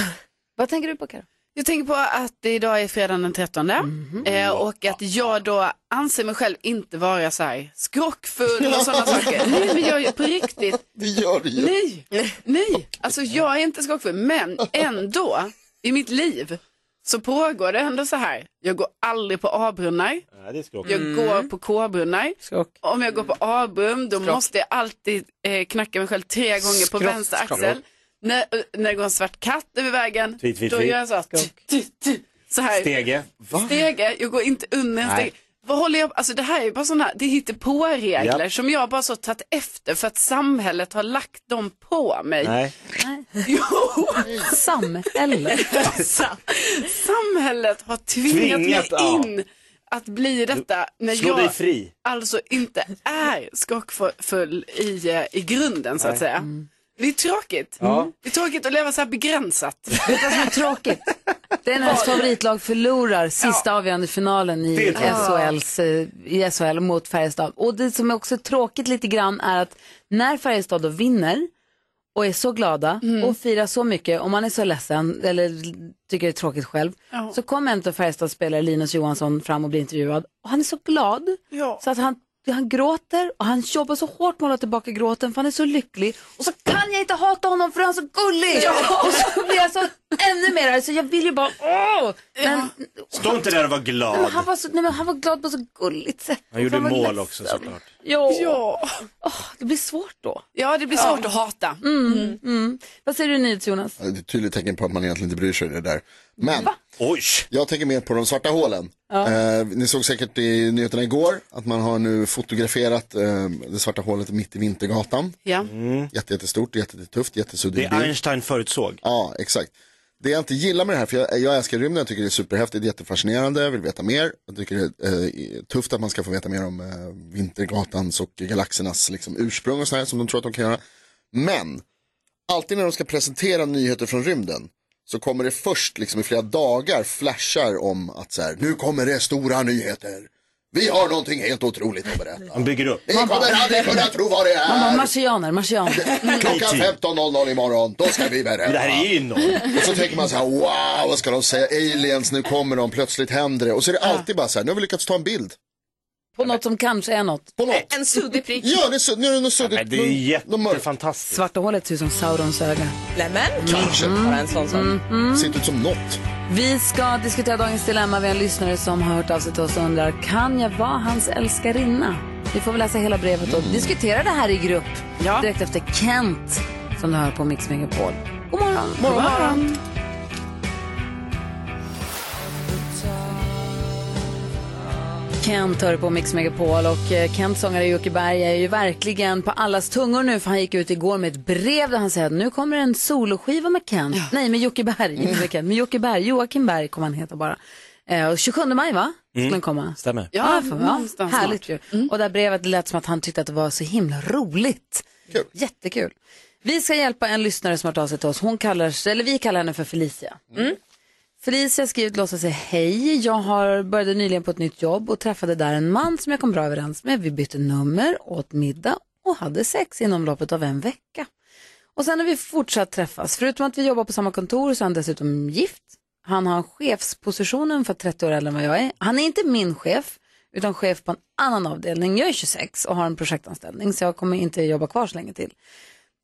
B: Vad tänker du på Karo?
G: Jag tänker på att det idag är fredagen den 13
D: Mhm.
G: eh, och att jag då anser mig själv inte vara så här skrockfull
D: *laughs*
G: och sådana saker. Nej men jag är ju på riktigt.
D: Det gör det ju.
G: Nej, nej. Alltså jag är inte skrockfull men ändå i mitt liv så pågår det ändå så här. Jag går aldrig på A-brunnar.
C: Nej, det är skrock. Mm.
G: Jag går på K-brunnar. Om jag går på A-brum då
C: Skrock.
G: måste jag alltid eh, knacka mig själv tre gånger på
C: Skrock,
G: vänster
C: skrock.
G: axel. När, eh, när det går en svart katt över vägen,
C: Tweet, tweet,
G: då
C: tweet.
G: gör jag så här. "Ty, ty, ty." Så här.
C: Stege.
G: Stege, jag går inte under en
C: Nej.
G: stege. Vad håller jag, alltså det här är ju bara sådana, det hittar på regler
C: Japp.
G: som jag bara så tagit efter för att samhället har lagt dem på mig.
C: Nej.
G: Jo!
B: Samhället.
G: Sam- *laughs* samhället har tvingat,
C: Tvingat,
G: mig
C: ja.
G: in att bli detta när
C: Slå
G: jag
C: dig fri.
G: alltså inte är skockfull i, eh, i grunden så att
C: Nej.
G: säga. Det är tråkigt.
C: Ja.
G: Det är tråkigt att leva så här begränsat.
B: Vet du vad som är tråkigt? Det är när *laughs* ens favoritlag förlorar sista avgörande finalen
G: Det
B: i
G: är tråkigt.
B: SHLs, eh, i SHL mot Färjestad. Och det som är också tråkigt lite grann är att när Färjestad då vinner och är så glada och firar så mycket, om man är så ledsen eller tycker det är tråkigt själv,
G: Ja.
B: så kommer en av Färjestads spelare, Linus Johansson, fram och blir intervjuad. Och han är så glad så att han, han gråter och han jobbar så hårt med att hålla tillbaka gråten för han är så lycklig. Och så kan jag inte hata honom för han är så gullig!
K: Ja.
B: Och så blir jag så ännu mer arg, så jag vill ju bara åh! Men,
C: Stå inte där och var
B: nej, men
C: glad.
B: han, var så, nej, men han var glad på så gulligt sätt.
C: Han gjorde
B: Han var
C: mål
B: ledsen.
C: också såklart.
B: Ja.
G: ja.
B: det blir svårt då.
G: Ja, det blir svårt att hata.
B: Mm. Mm. Vad säger du nyhets Jonas?
D: Det är ett tydligt tecken på att man egentligen inte bryr sig det där. Men jag tänker mer på de svarta hålen.
B: Ja.
D: Eh, ni såg säkert i nyheterna igår att man har nu fotograferat eh, det svarta hålet mitt i Vintergatan.
G: Ja.
D: Jätte, jättestort, jättetufft, jättesuddig
C: Det Einstein förutsåg.
D: Ja, exakt. Det jag inte gillar med det här, för jag, jag älskar rymden, jag tycker det är superhäftigt, jättefascinerande, jag vill veta mer. Jag tycker det är eh, tufft att man ska få veta mer om eh, Vintergatans och galaxernas liksom, ursprung och sådär som de tror att de kan göra. Men, alltid när de ska presentera nyheter från rymden så kommer det först liksom, i flera dagar flashar om att så här, nu kommer det stora nyheter. Vi har någonting helt otroligt att berätta.
C: De bygger upp.
D: Ni kommer aldrig kunna tro vad det
B: Man bara
D: är.
B: marsianer, marsianer.
D: Mm. Klockan 15.00 imorgon, då ska vi berätta.
C: Det här är ju enormt.
D: Och så tänker man så här, wow, vad ska de säga? Aliens, nu kommer de, plötsligt händer det. Och så är det alltid bara så här, nu har vi lyckats ta en bild.
B: På något som kanske är något.
D: På något.
O: En suddig prick.
D: Ja, det är, sud- nu är det något suddigt.
C: Det är jättefantastiskt.
B: Svarta hålet ser ut som Saurons öga.
O: Nämen.
D: Kanske.
O: Bara en sån sak.
B: Mm, mm.
D: Ser inte ut som något.
B: Vi ska diskutera dagens dilemma. Vi har en lyssnare som har hört av sig till oss och undrar, kan jag vara hans älskarinna? Vi får väl läsa hela brevet
K: Mm.
B: och diskutera det här i grupp. Direkt efter Kent, som du hör på Mix Megapol. God morgon!
K: God morgon.
C: Mm.
B: Kent hör på Mix Megapol och eh, Kent sångare i Jockeberg är ju verkligen på allas tungor nu för han gick ut igår med ett brev där han säger att nu kommer en soloskiva med Kent, nej med Jockeberg,
K: Mm.
B: inte *laughs* med Kent, med Jockeberg, Joakim Berg kommer han heta bara. Eh, och 27 maj va? Skulle
C: Mm.
B: den komma?
C: Stämmer.
B: Ja, för, Mm. ja
G: någonstans
B: Ah, mm. härligt ju. Och det här brevet lät som att han tyckte att det var så himla roligt. Jättekul. Vi ska hjälpa en lyssnare som har hört av sig till oss. Hon kallar, eller vi kallar henne för Felicia. Mm. Felicia skriver till oss och säger hej. Jag har började nyligen på ett nytt jobb och träffade där en man som jag kom bra överens med. Vi bytte nummer, åt middag och hade sex inom loppet av en vecka. Och sen har vi fortsatt träffas. Förutom att vi jobbar på samma kontor så är han dessutom gift. Han har chefspositionen för 30 år äldre än vad jag är. Han är inte min chef, utan chef på en annan avdelning. Jag är 26 och har en projektanställning så jag kommer inte jobba kvar så länge till.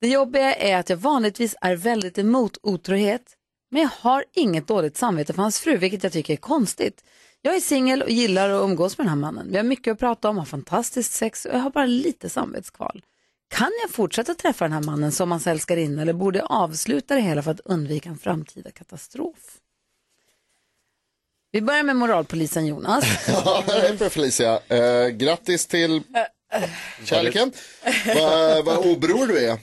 B: Det jobbiga är att jag vanligtvis är väldigt emot otrohet, men jag har inget dåligt samvete för hans fru, vilket jag tycker är konstigt. Jag är singel och gillar att umgås med den här mannen. Vi har mycket att prata om, har fantastiskt sex och jag har bara lite samvetskval. Kan jag fortsätta träffa den här mannen som hans älskarinna eller borde jag avsluta det hela för att undvika en framtida katastrof? Vi börjar med
G: *laughs*
B: moralpolisen Jonas.
D: Ja, det är bra Felicia. Eh, grattis till kärleken. Vad vad obror du är.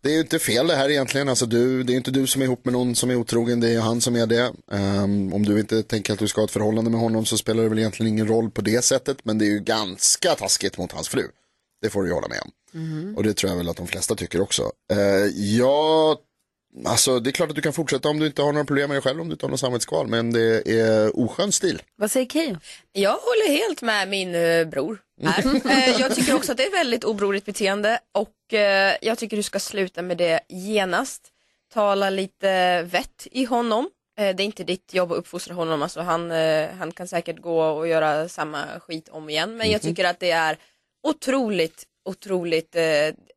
D: Det är ju inte fel det här egentligen. Alltså du, det är inte du som är ihop med någon som är otrogen, det är ju han som är det. Ehm, om du inte tänker att du ska ha ett förhållande med honom så spelar det väl egentligen ingen roll på det sättet. Men det är ju ganska taskigt mot hans fru. Det får du ju hålla med om.
C: Mm-hmm.
D: Och det tror jag väl att de flesta tycker också. Eh, ja, alltså det är klart att du kan fortsätta om du inte har några problem med dig själv, om du inte har något samvetskval. Men det är oskön stil.
B: Vad säger Keyyo?
O: Jag håller helt med min eh, bror. Här.
B: Mm.
O: Eh, jag tycker också att det är väldigt obrorligt beteende och eh, jag tycker du ska sluta med det genast. Tala lite vett i honom. Eh, det är inte ditt jobb att uppfostra honom, alltså han, eh, han kan säkert gå och göra samma skit om igen. Men jag
P: Mhm.
O: tycker att det är otroligt, otroligt, eh,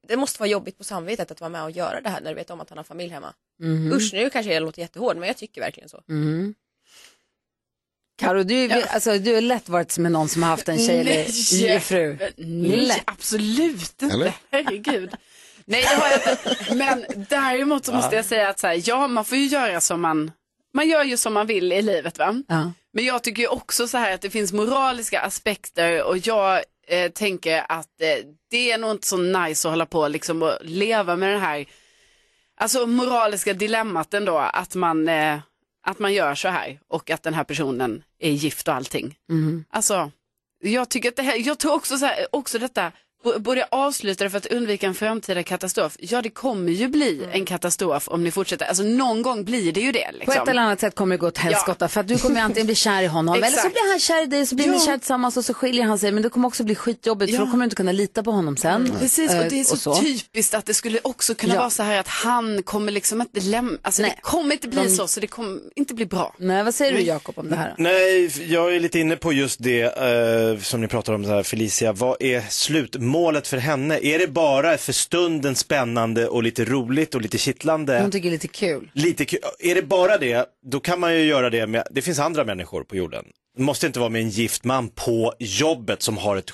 O: det måste vara jobbigt på samvetet att vara med och göra det här när du vet om att han har familj hemma.
B: Mhm.
O: Usch, nu kanske jag låter jättehård men jag tycker verkligen så.
B: Mm. Karo, du, alltså, du har lätt varit med någon som har haft en tjej eller
G: Nej,
B: en fru.
G: nej,
B: Lätt.
G: absolut inte.
B: Eller?
G: Herregud. Nej, det har jag inte. Men däremot så
B: Va?
G: måste jag säga att så här, ja, man får ju göra som man, man gör ju som man vill i livet va?
B: Ja.
G: Men jag tycker ju också så här att det finns moraliska aspekter och jag eh, tänker att eh, det är nog inte så nice att hålla på liksom och leva med den här alltså moraliska dilemmat ändå att man, eh, att man gör så här och att den här personen är gift och allting.
B: Mm.
G: Alltså, jag tycker att det här, jag tror också så här, också detta, b- borde jag avsluta det för att undvika en framtida katastrof? Ja, det kommer ju bli en katastrof om ni fortsätter. Alltså någon gång blir det ju det.
B: På
G: Liksom.
B: ett eller annat sätt kommer det gå åt helskotta för att du kommer ju antingen bli kär i honom eller så
G: Exakt.
B: blir han kär i dig så blir ni
G: Ja.
B: kär tillsammans och så skiljer han sig men det kommer också bli skitjobbigt för
G: Ja.
B: då kommer du inte kunna lita på honom sen.
G: Precis, Mm. och
B: Eh,
G: det är så, typiskt att det skulle också kunna
B: Ja.
G: vara så här att han kommer liksom inte lämna, alltså
B: Nej.
G: det kommer inte bli
B: De-
G: så, så det kommer inte bli bra.
B: Nej, vad säger du Jakob om det här?
C: Nej, f- jag är lite inne på just det eh, som ni pratar om, så här, Felicia. Vad är slutmålet för henne? Är det bara för stunden spännande och lite roligt och lite kittlande?
B: Hon tycker det är lite kul.
C: Lite kul. Är det bara det, då kan man ju göra det med, det finns andra människor på jorden. Det måste inte vara med en gift man på jobbet som har ett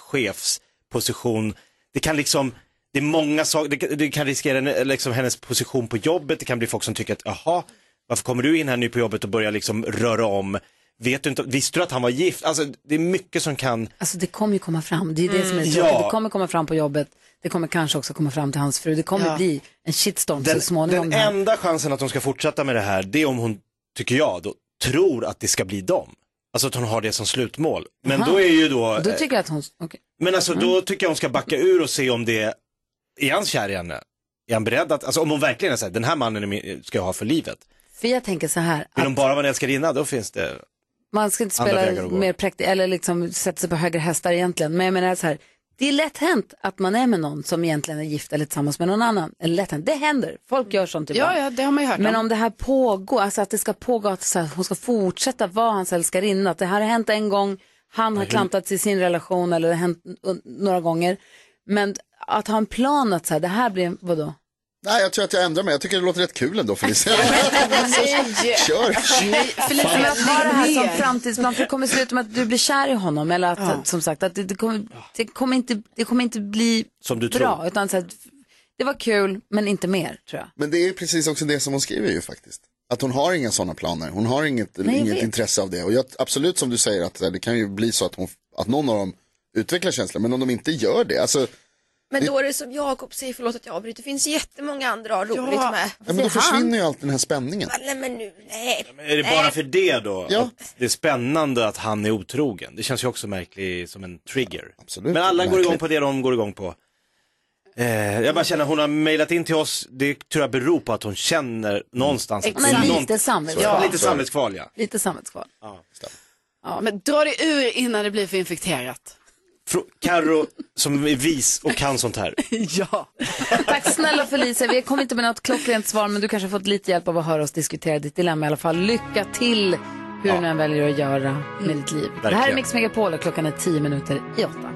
C: chefsposition. Det kan liksom, det är många saker, det, kan- det kan riskera en- liksom hennes position på jobbet, det kan bli folk som tycker att jaha, varför kommer du in här nu på jobbet och börjar liksom röra om? Vet du inte, visste du att han var gift? Alltså det är mycket som kan,
B: Alltså det kommer ju komma fram, det är det som är
C: Mm.
B: tråkigt.
C: Ja.
B: Det kommer komma fram på jobbet, det kommer kanske också komma fram till hans fru, det kommer
C: Ja.
B: bli en shitstorm så
C: den,
B: småningom.
C: den
B: här.
C: enda chansen att hon ska fortsätta med det här, det är om hon, tycker jag, då, tror att det ska bli dem. Alltså att hon har det som slutmål. Men
B: Aha.
C: då är ju då...
B: Då
C: eh,
B: tycker Mm. jag att hon, okej.
C: Men alltså då tycker jag hon ska backa ur och se om det, är han kär i henne? Är han beredd att, alltså om hon verkligen är såhär, den här mannen är min, ska jag ha för livet.
B: För jag tänker så här,
C: Vill hon bara vara en älskarinna, då finns det.
B: Man ska inte
C: Andra
B: spela
C: vägar att gå.
B: mer präktigt eller liksom sätta sig på högre hästar egentligen. Men jag menar så här, det är lätt hänt att man är med någon som egentligen är gift eller tillsammans med någon annan. Eller lätt hänt, det händer. Folk gör sånt
G: Ja, ja, det har man ju hört
B: Men
G: om.
B: om det här pågår, alltså att det ska pågå, att så här, hon ska fortsätta vara hans älskarinna. Att det här har hänt en gång, han har
P: hur-
B: klantat sig i sin relation eller det har hänt un- några gånger. Men att ha en plan att så här, det här blir, en- vadå?
D: Nej, jag tror att jag ändrar mig. Jag tycker det låter rätt kul ändå
B: *laughs*
D: Felicia.
G: Nej.
D: Kör.
G: Nej, Felicia,
B: Men att ha det här som
G: ner.
B: framtidsplan, för det kommer sluta med att du blir kär i honom. Eller att,
G: Ja.
B: som sagt, att det, det, kommer, det, kommer inte, det kommer inte bli
C: Som du
B: bra.
D: tror.
B: Utan så att, det var kul, men inte mer, tror jag.
D: Men det är ju precis också det som hon skriver ju faktiskt. Att hon har inga sådana planer. Hon har inget,
B: Nej, jag
D: inget
B: vet.
D: intresse av det. Och jag, absolut som du säger att eh, det kan ju bli så att, hon, att någon av dem utvecklar känslor. Men om de inte gör det. Alltså,
P: Men
D: Det-
P: då är det som Jakob säger, förlåt att jag avbryter, det finns jättemånga andra att ha roligt
B: Äh,
P: med.
D: ja, men då försvinner ju allt den här spänningen.
P: Ja, Nej men nu, nej.
C: Är det bara för det då? Ja. Att det är spännande att han är otrogen. Det känns ju också märkligt som en trigger.
D: Absolut.
C: Men alla går
D: Märkligt.
C: igång på det de går igång på. Eh, jag bara känner att hon har mejlat in till oss, det tror jag beror på att hon känner någonstans. att det är
B: Men
C: någon-
B: lite samvetskval.
C: Lite samvetskval ja.
B: Lite samvetskval.
G: Ja, men dra det ur innan det blir för *laughs* infekterat.
C: Fro- Karo som är vis och kan sånt här.
G: ja.
B: *laughs* Tack snälla Felicia. Vi kom inte med något klockrent svar, men du kanske har fått lite hjälp av att höra oss diskutera ditt dilemma i alla fall. Lycka till hur du än väljer att göra med ditt liv. Det här är
P: Verkligen.
B: Mix Megapol och klockan är tio minuter i åtta.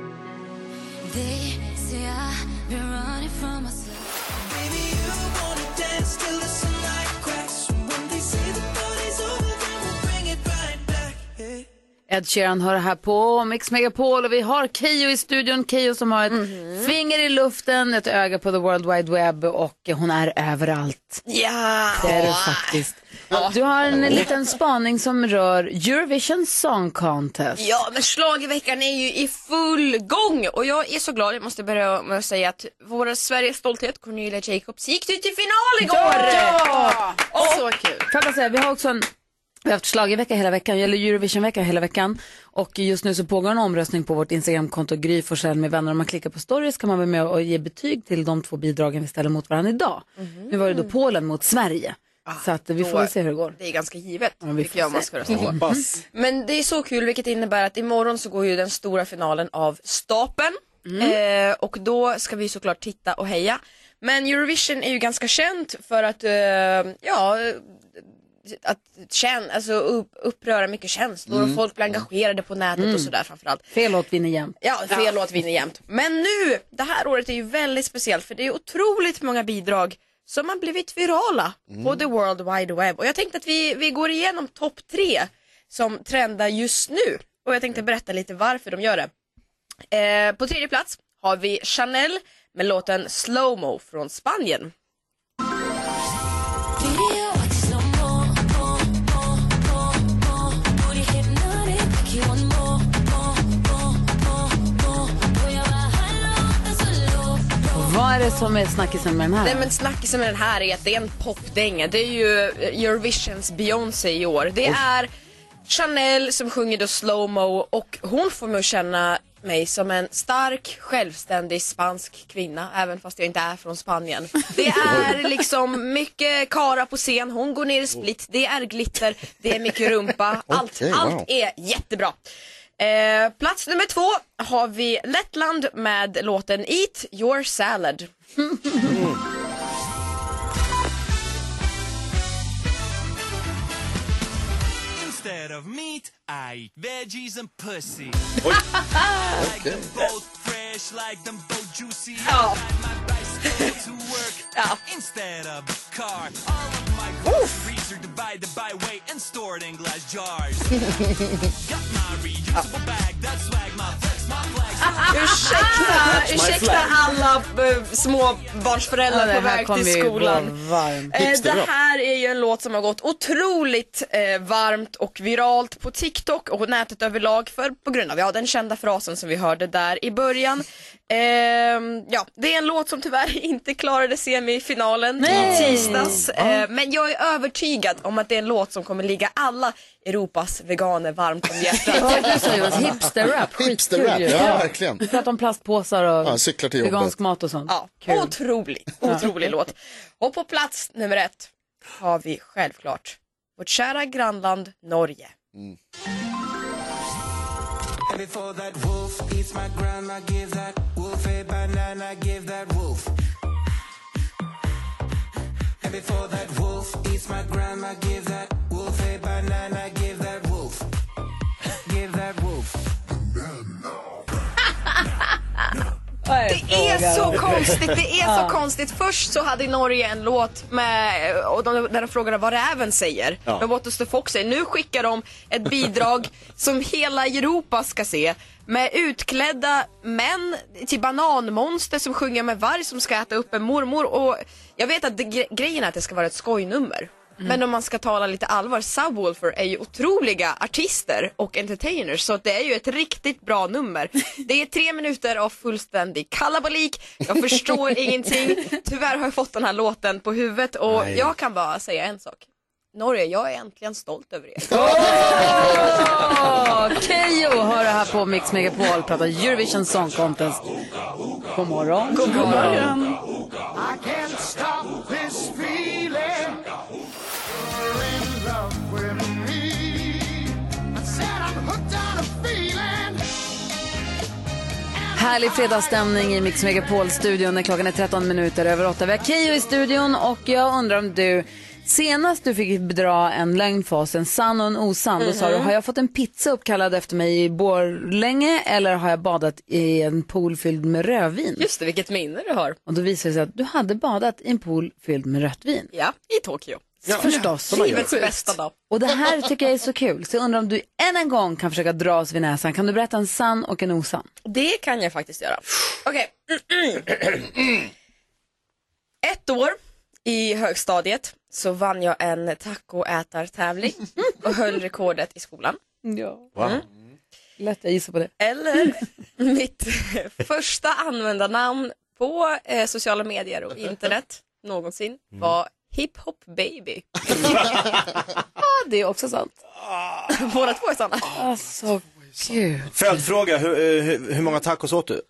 B: Ed Ed Sheeran hör här på Mix Megapol och vi har Keyyo i studion. Keyyo som har ett finger i luften, ett öga på the world wide web och hon är överallt.
O: Ja!
B: Det är du faktiskt. Du har en liten spaning som rör Eurovision Song Contest.
O: Ja, men schlagerveckan är ju i full gång och jag är så glad. Jag måste börja med att säga att vår Sveriges stolthet Cornelia Jacobs gick ju till final igår!
B: Ja!
O: Och
Q: Så kul.
B: Får jag bara säga, vi har också en vi har haft schlagervecka hela veckan, eller Eurovisionvecka hela veckan. Och just nu så pågår en omröstning på vårt Instagramkonto Gry Forssell med vänner. Om man klickar på stories kan man vara med och ge betyg till de två bidragen vi ställer mot varandra idag.
O: Mm-hmm.
B: Nu var det då Polen mot Sverige. så att vi
O: Mm. Ah, då-
B: får väl se hur det går.
O: Det är ganska givet,
B: Ja, vi
O: tycker
B: får
O: jag man
B: se.
O: ska rösta på.
B: Hoppas.
O: Mm. Men det är så kul, vilket innebär att imorgon så går ju den stora finalen av stapeln.
B: Mm.
O: Eh, och då ska vi såklart titta och heja. Men Eurovision är ju ganska känt för att, eh, ja, att kän- alltså upp- uppröra mycket känslor
B: Mm.
O: och folk blir engagerade på nätet
B: Mm.
O: och sådär framförallt.
B: Fel låt vinner jämt.
O: Ja, fel låt vinner jämt. Men nu, det här året är ju väldigt speciellt för det är otroligt många bidrag som har blivit virala på
I: Mm.
O: the world wide web. Och jag tänkte att vi, vi går igenom topp tre som trendar just nu. Och jag tänkte berätta lite varför de gör det. Eh, på tredje plats har vi Chanel med låten Slow Mo från Spanien.
B: Vad är det som är snackisen med den här?
O: Nej men snackisen med den här är att det är en popdänga. Det är ju eh, Eurovisions Beyoncé i år. Det
B: Oj.
O: är Chanel som sjunger då slowmo och hon får mig att känna mig som en stark, självständig spansk kvinna, även fast jag inte är från Spanien.
B: *laughs*
O: Det är liksom mycket kara på scen, hon går ner i split, det är glitter, det är mycket
B: *laughs*
O: rumpa, allt,
I: Okej, wow.
O: allt är jättebra. Eh, plats nummer två har vi Lettland med låten Eat your
B: *laughs*
O: salad.
R: Instead of meat, I eat veggies and *laughs* pussy.
D: Oj.
R: Like
D: Okej.
R: them both fresh, like them both juicy.
O: Ja.
R: I ride my bicycle to *laughs* work instead of the car. All of my groceries are divided by weight and stored in glass *laughs* jars. Got my reusable bag, that's swag, my flex, my *laughs* flags. *laughs*
O: Ursäkta,
R: That's my
O: ursäkta
R: flag.
O: alla eh, småbarnsföräldrar på väg till skolan. Eh, Det här är ju en låt som har gått otroligt eh, varmt och viralt på TikTok och nätet överlag för, på grund av ja, den kända frasen som vi hörde där i början. Ehm, ja, det är en låt som tyvärr *laughs* inte klarade semifinalen i
B: Nej.
O: tisdags.
B: Ja.
O: Eh, men jag är övertygad om att det är en låt som kommer ligga alla Europas veganer varmt om hjärtat.
B: Vad var det du sa Jonas? Hipsterrap? Skitkul
D: Hipsterrap,
B: ju.
D: ja, verkligen.
B: Vi pratar om plastpåsar och
D: Ja, cyklar till jobbet.
B: vegansk mat och sånt.
O: Ja, Otrolig, otrolig låt. Och på plats nummer ett har vi självklart vårt kära grannland Norge.
R: Before that wolf eats my grandma, give that wolf a banana, give that wolf. And before that wolf eats my grandma, give that wolf a banana, give that wolf. Give that wolf.
O: Det är så konstigt, det är
B: Ja.
O: så konstigt. Först så hade Norge en låt med, och de, där de frågade vad räven säger.
I: Ja.
O: Men What does the fox say? Nu skickar de ett bidrag som hela Europa ska se. Med utklädda män till bananmonster som sjunger med varg som ska äta upp en mormor. Och jag vet att det, gre- grejen är att det ska vara ett skojnummer. Men om man ska tala lite allvar, Subwoolfer är ju otroliga artister och entertainers så att det är ju ett riktigt bra nummer. Det är tre minuter av fullständig kalabalik, jag förstår ingenting. Tyvärr har jag fått den här låten på huvudet och
I: Nej.
O: jag kan bara säga en sak. Norge, jag är äntligen stolt över er.
B: Keyyo hör det här på Mix Megapol, pratar Eurovision Song Contest. God morgon.
E: God morgon.
I: I can't stop this feeling. You're in love with me. I said I'm hooked on a feeling.
B: Härlig fredagsstämning i Mix Megapol-studion när klockan är 13 minuter över 8. Vi har Keyyo i studion och jag undrar om du senast du fick dra en lögn för oss, en sann och en osann, då sa
I: Mhm.
B: du har jag fått en pizza uppkallad efter mig i Borlänge eller har jag badat i en pool fylld med rödvin?
O: Just det, vilket minne du har.
B: Och då visade det sig att du hade badat i en pool fylld med rött vin.
O: Ja, i Tokyo.
B: Ja, Förstås.
P: som man gör. Livets bästa dag.
B: Och det här tycker jag är så kul. Så jag undrar om du än en gång kan försöka dra oss vid näsan. Kan du berätta en sann och en osann?
O: Det kan jag faktiskt göra. Okej. *clears throat* Ett år i högstadiet så vann jag en tacoätartävling och höll rekordet i skolan.
B: Ja.
O: Mm.
B: Lätt, jag gissar på det.
O: Eller *laughs* mitt första användarnamn på eh, sociala medier och internet någonsin var Hiphop
B: *laughs*
O: baby.
B: Ja, Ah, det är också sant.
O: *laughs* Båda två är sanna.
B: Alltså, gud.
C: Följdfråga, hur, eh, hur, hur många tacos åt du?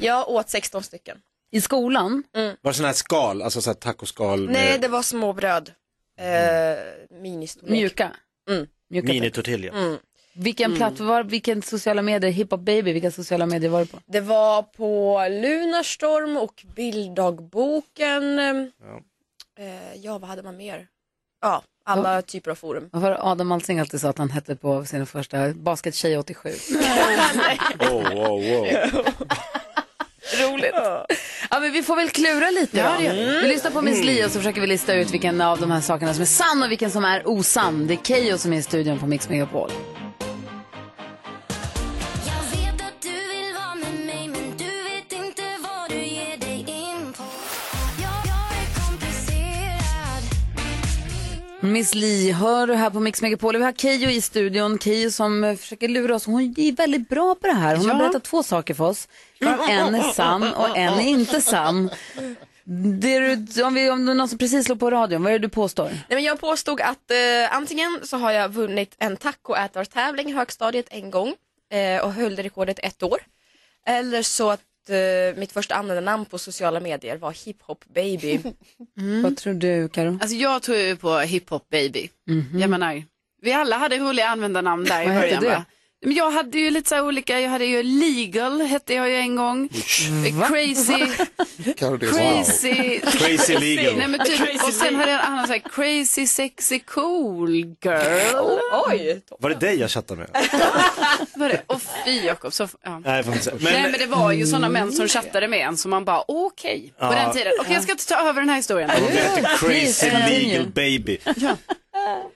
O: Jag åt 16 stycken. Mm.
B: I skolan?
C: Var det sådana här skal, alltså så här tacoskal
O: Nej, det var små bröd.
B: Mm.
O: Eh, Ministorlek.
B: Mjuka?
O: Mm.
B: Mjuka typ.
C: minitortilla?
O: Mm.
B: Vilken
O: Mm.
B: platt var, vilken sociala medier, hiphop baby, vilka sociala medier var du på?
O: Det var på Lunarstorm och Bilddagboken.
C: Ja.
O: Eh, ja, vad hade man mer? Ja, alla typer av forum.
B: Vad var det Adam Alsing alltid sa att han hette på sin första, Baskettjej 87?
C: Oh, wow, wow.
B: Roligt. Ja, men vi får väl klura lite
I: Ja,
B: då.
I: det gör vi.
B: Vi lyssnar på Miss Li och så försöker vi lista ut vilken av de här sakerna som är sann och vilken som är osann. Det är Keyyo som är i studion på Mix Megapol. Miss Li hör du här på Mix Megapol. Vi har Keyyo i studion. Keyyo som eh, försöker lura oss. Hon är väldigt bra på det här. Hon har
I: Ja.
B: berättat två saker för oss. Varav En är sann och en är inte sann. Det du, om, vi, om det är någon som precis slog på radion, vad är det du påstår?
O: Nej, men jag påstod att eh, antingen så har jag vunnit en tacoätartävling i högstadiet en gång eh, och höll det rekordet ett år. Eller så att eh, mitt första användarnamn på sociala medier var hiphop baby.
B: Vad tror du, Karo?
G: Mm. Alltså jag tror ju på hiphop baby.
B: Mhm.
G: Jag menar, vi alla hade roliga användarnamn där i
B: Vad hette
G: början
B: du?
G: va? Men jag hade ju lite så här olika, jag hade ju legal hette jag ju en gång. Crazy, crazy.
I: Crazy legal.
G: Nej, men typ,
I: Crazy
G: och sen
I: legal.
G: hade jag en annan så här crazy sexy cool girl.
O: Oj.
C: Var det dig jag chattade med?
G: Var det? Och fy Jakob. Så, ja.
C: Nej, jag får inte säga.
G: Nej men det var ju sådana män som chattade med en som man bara okej på
C: Ja.
G: den tiden. Okej jag ska inte ta över den här historien.
C: Hon heter Mm. Crazy Legal Baby.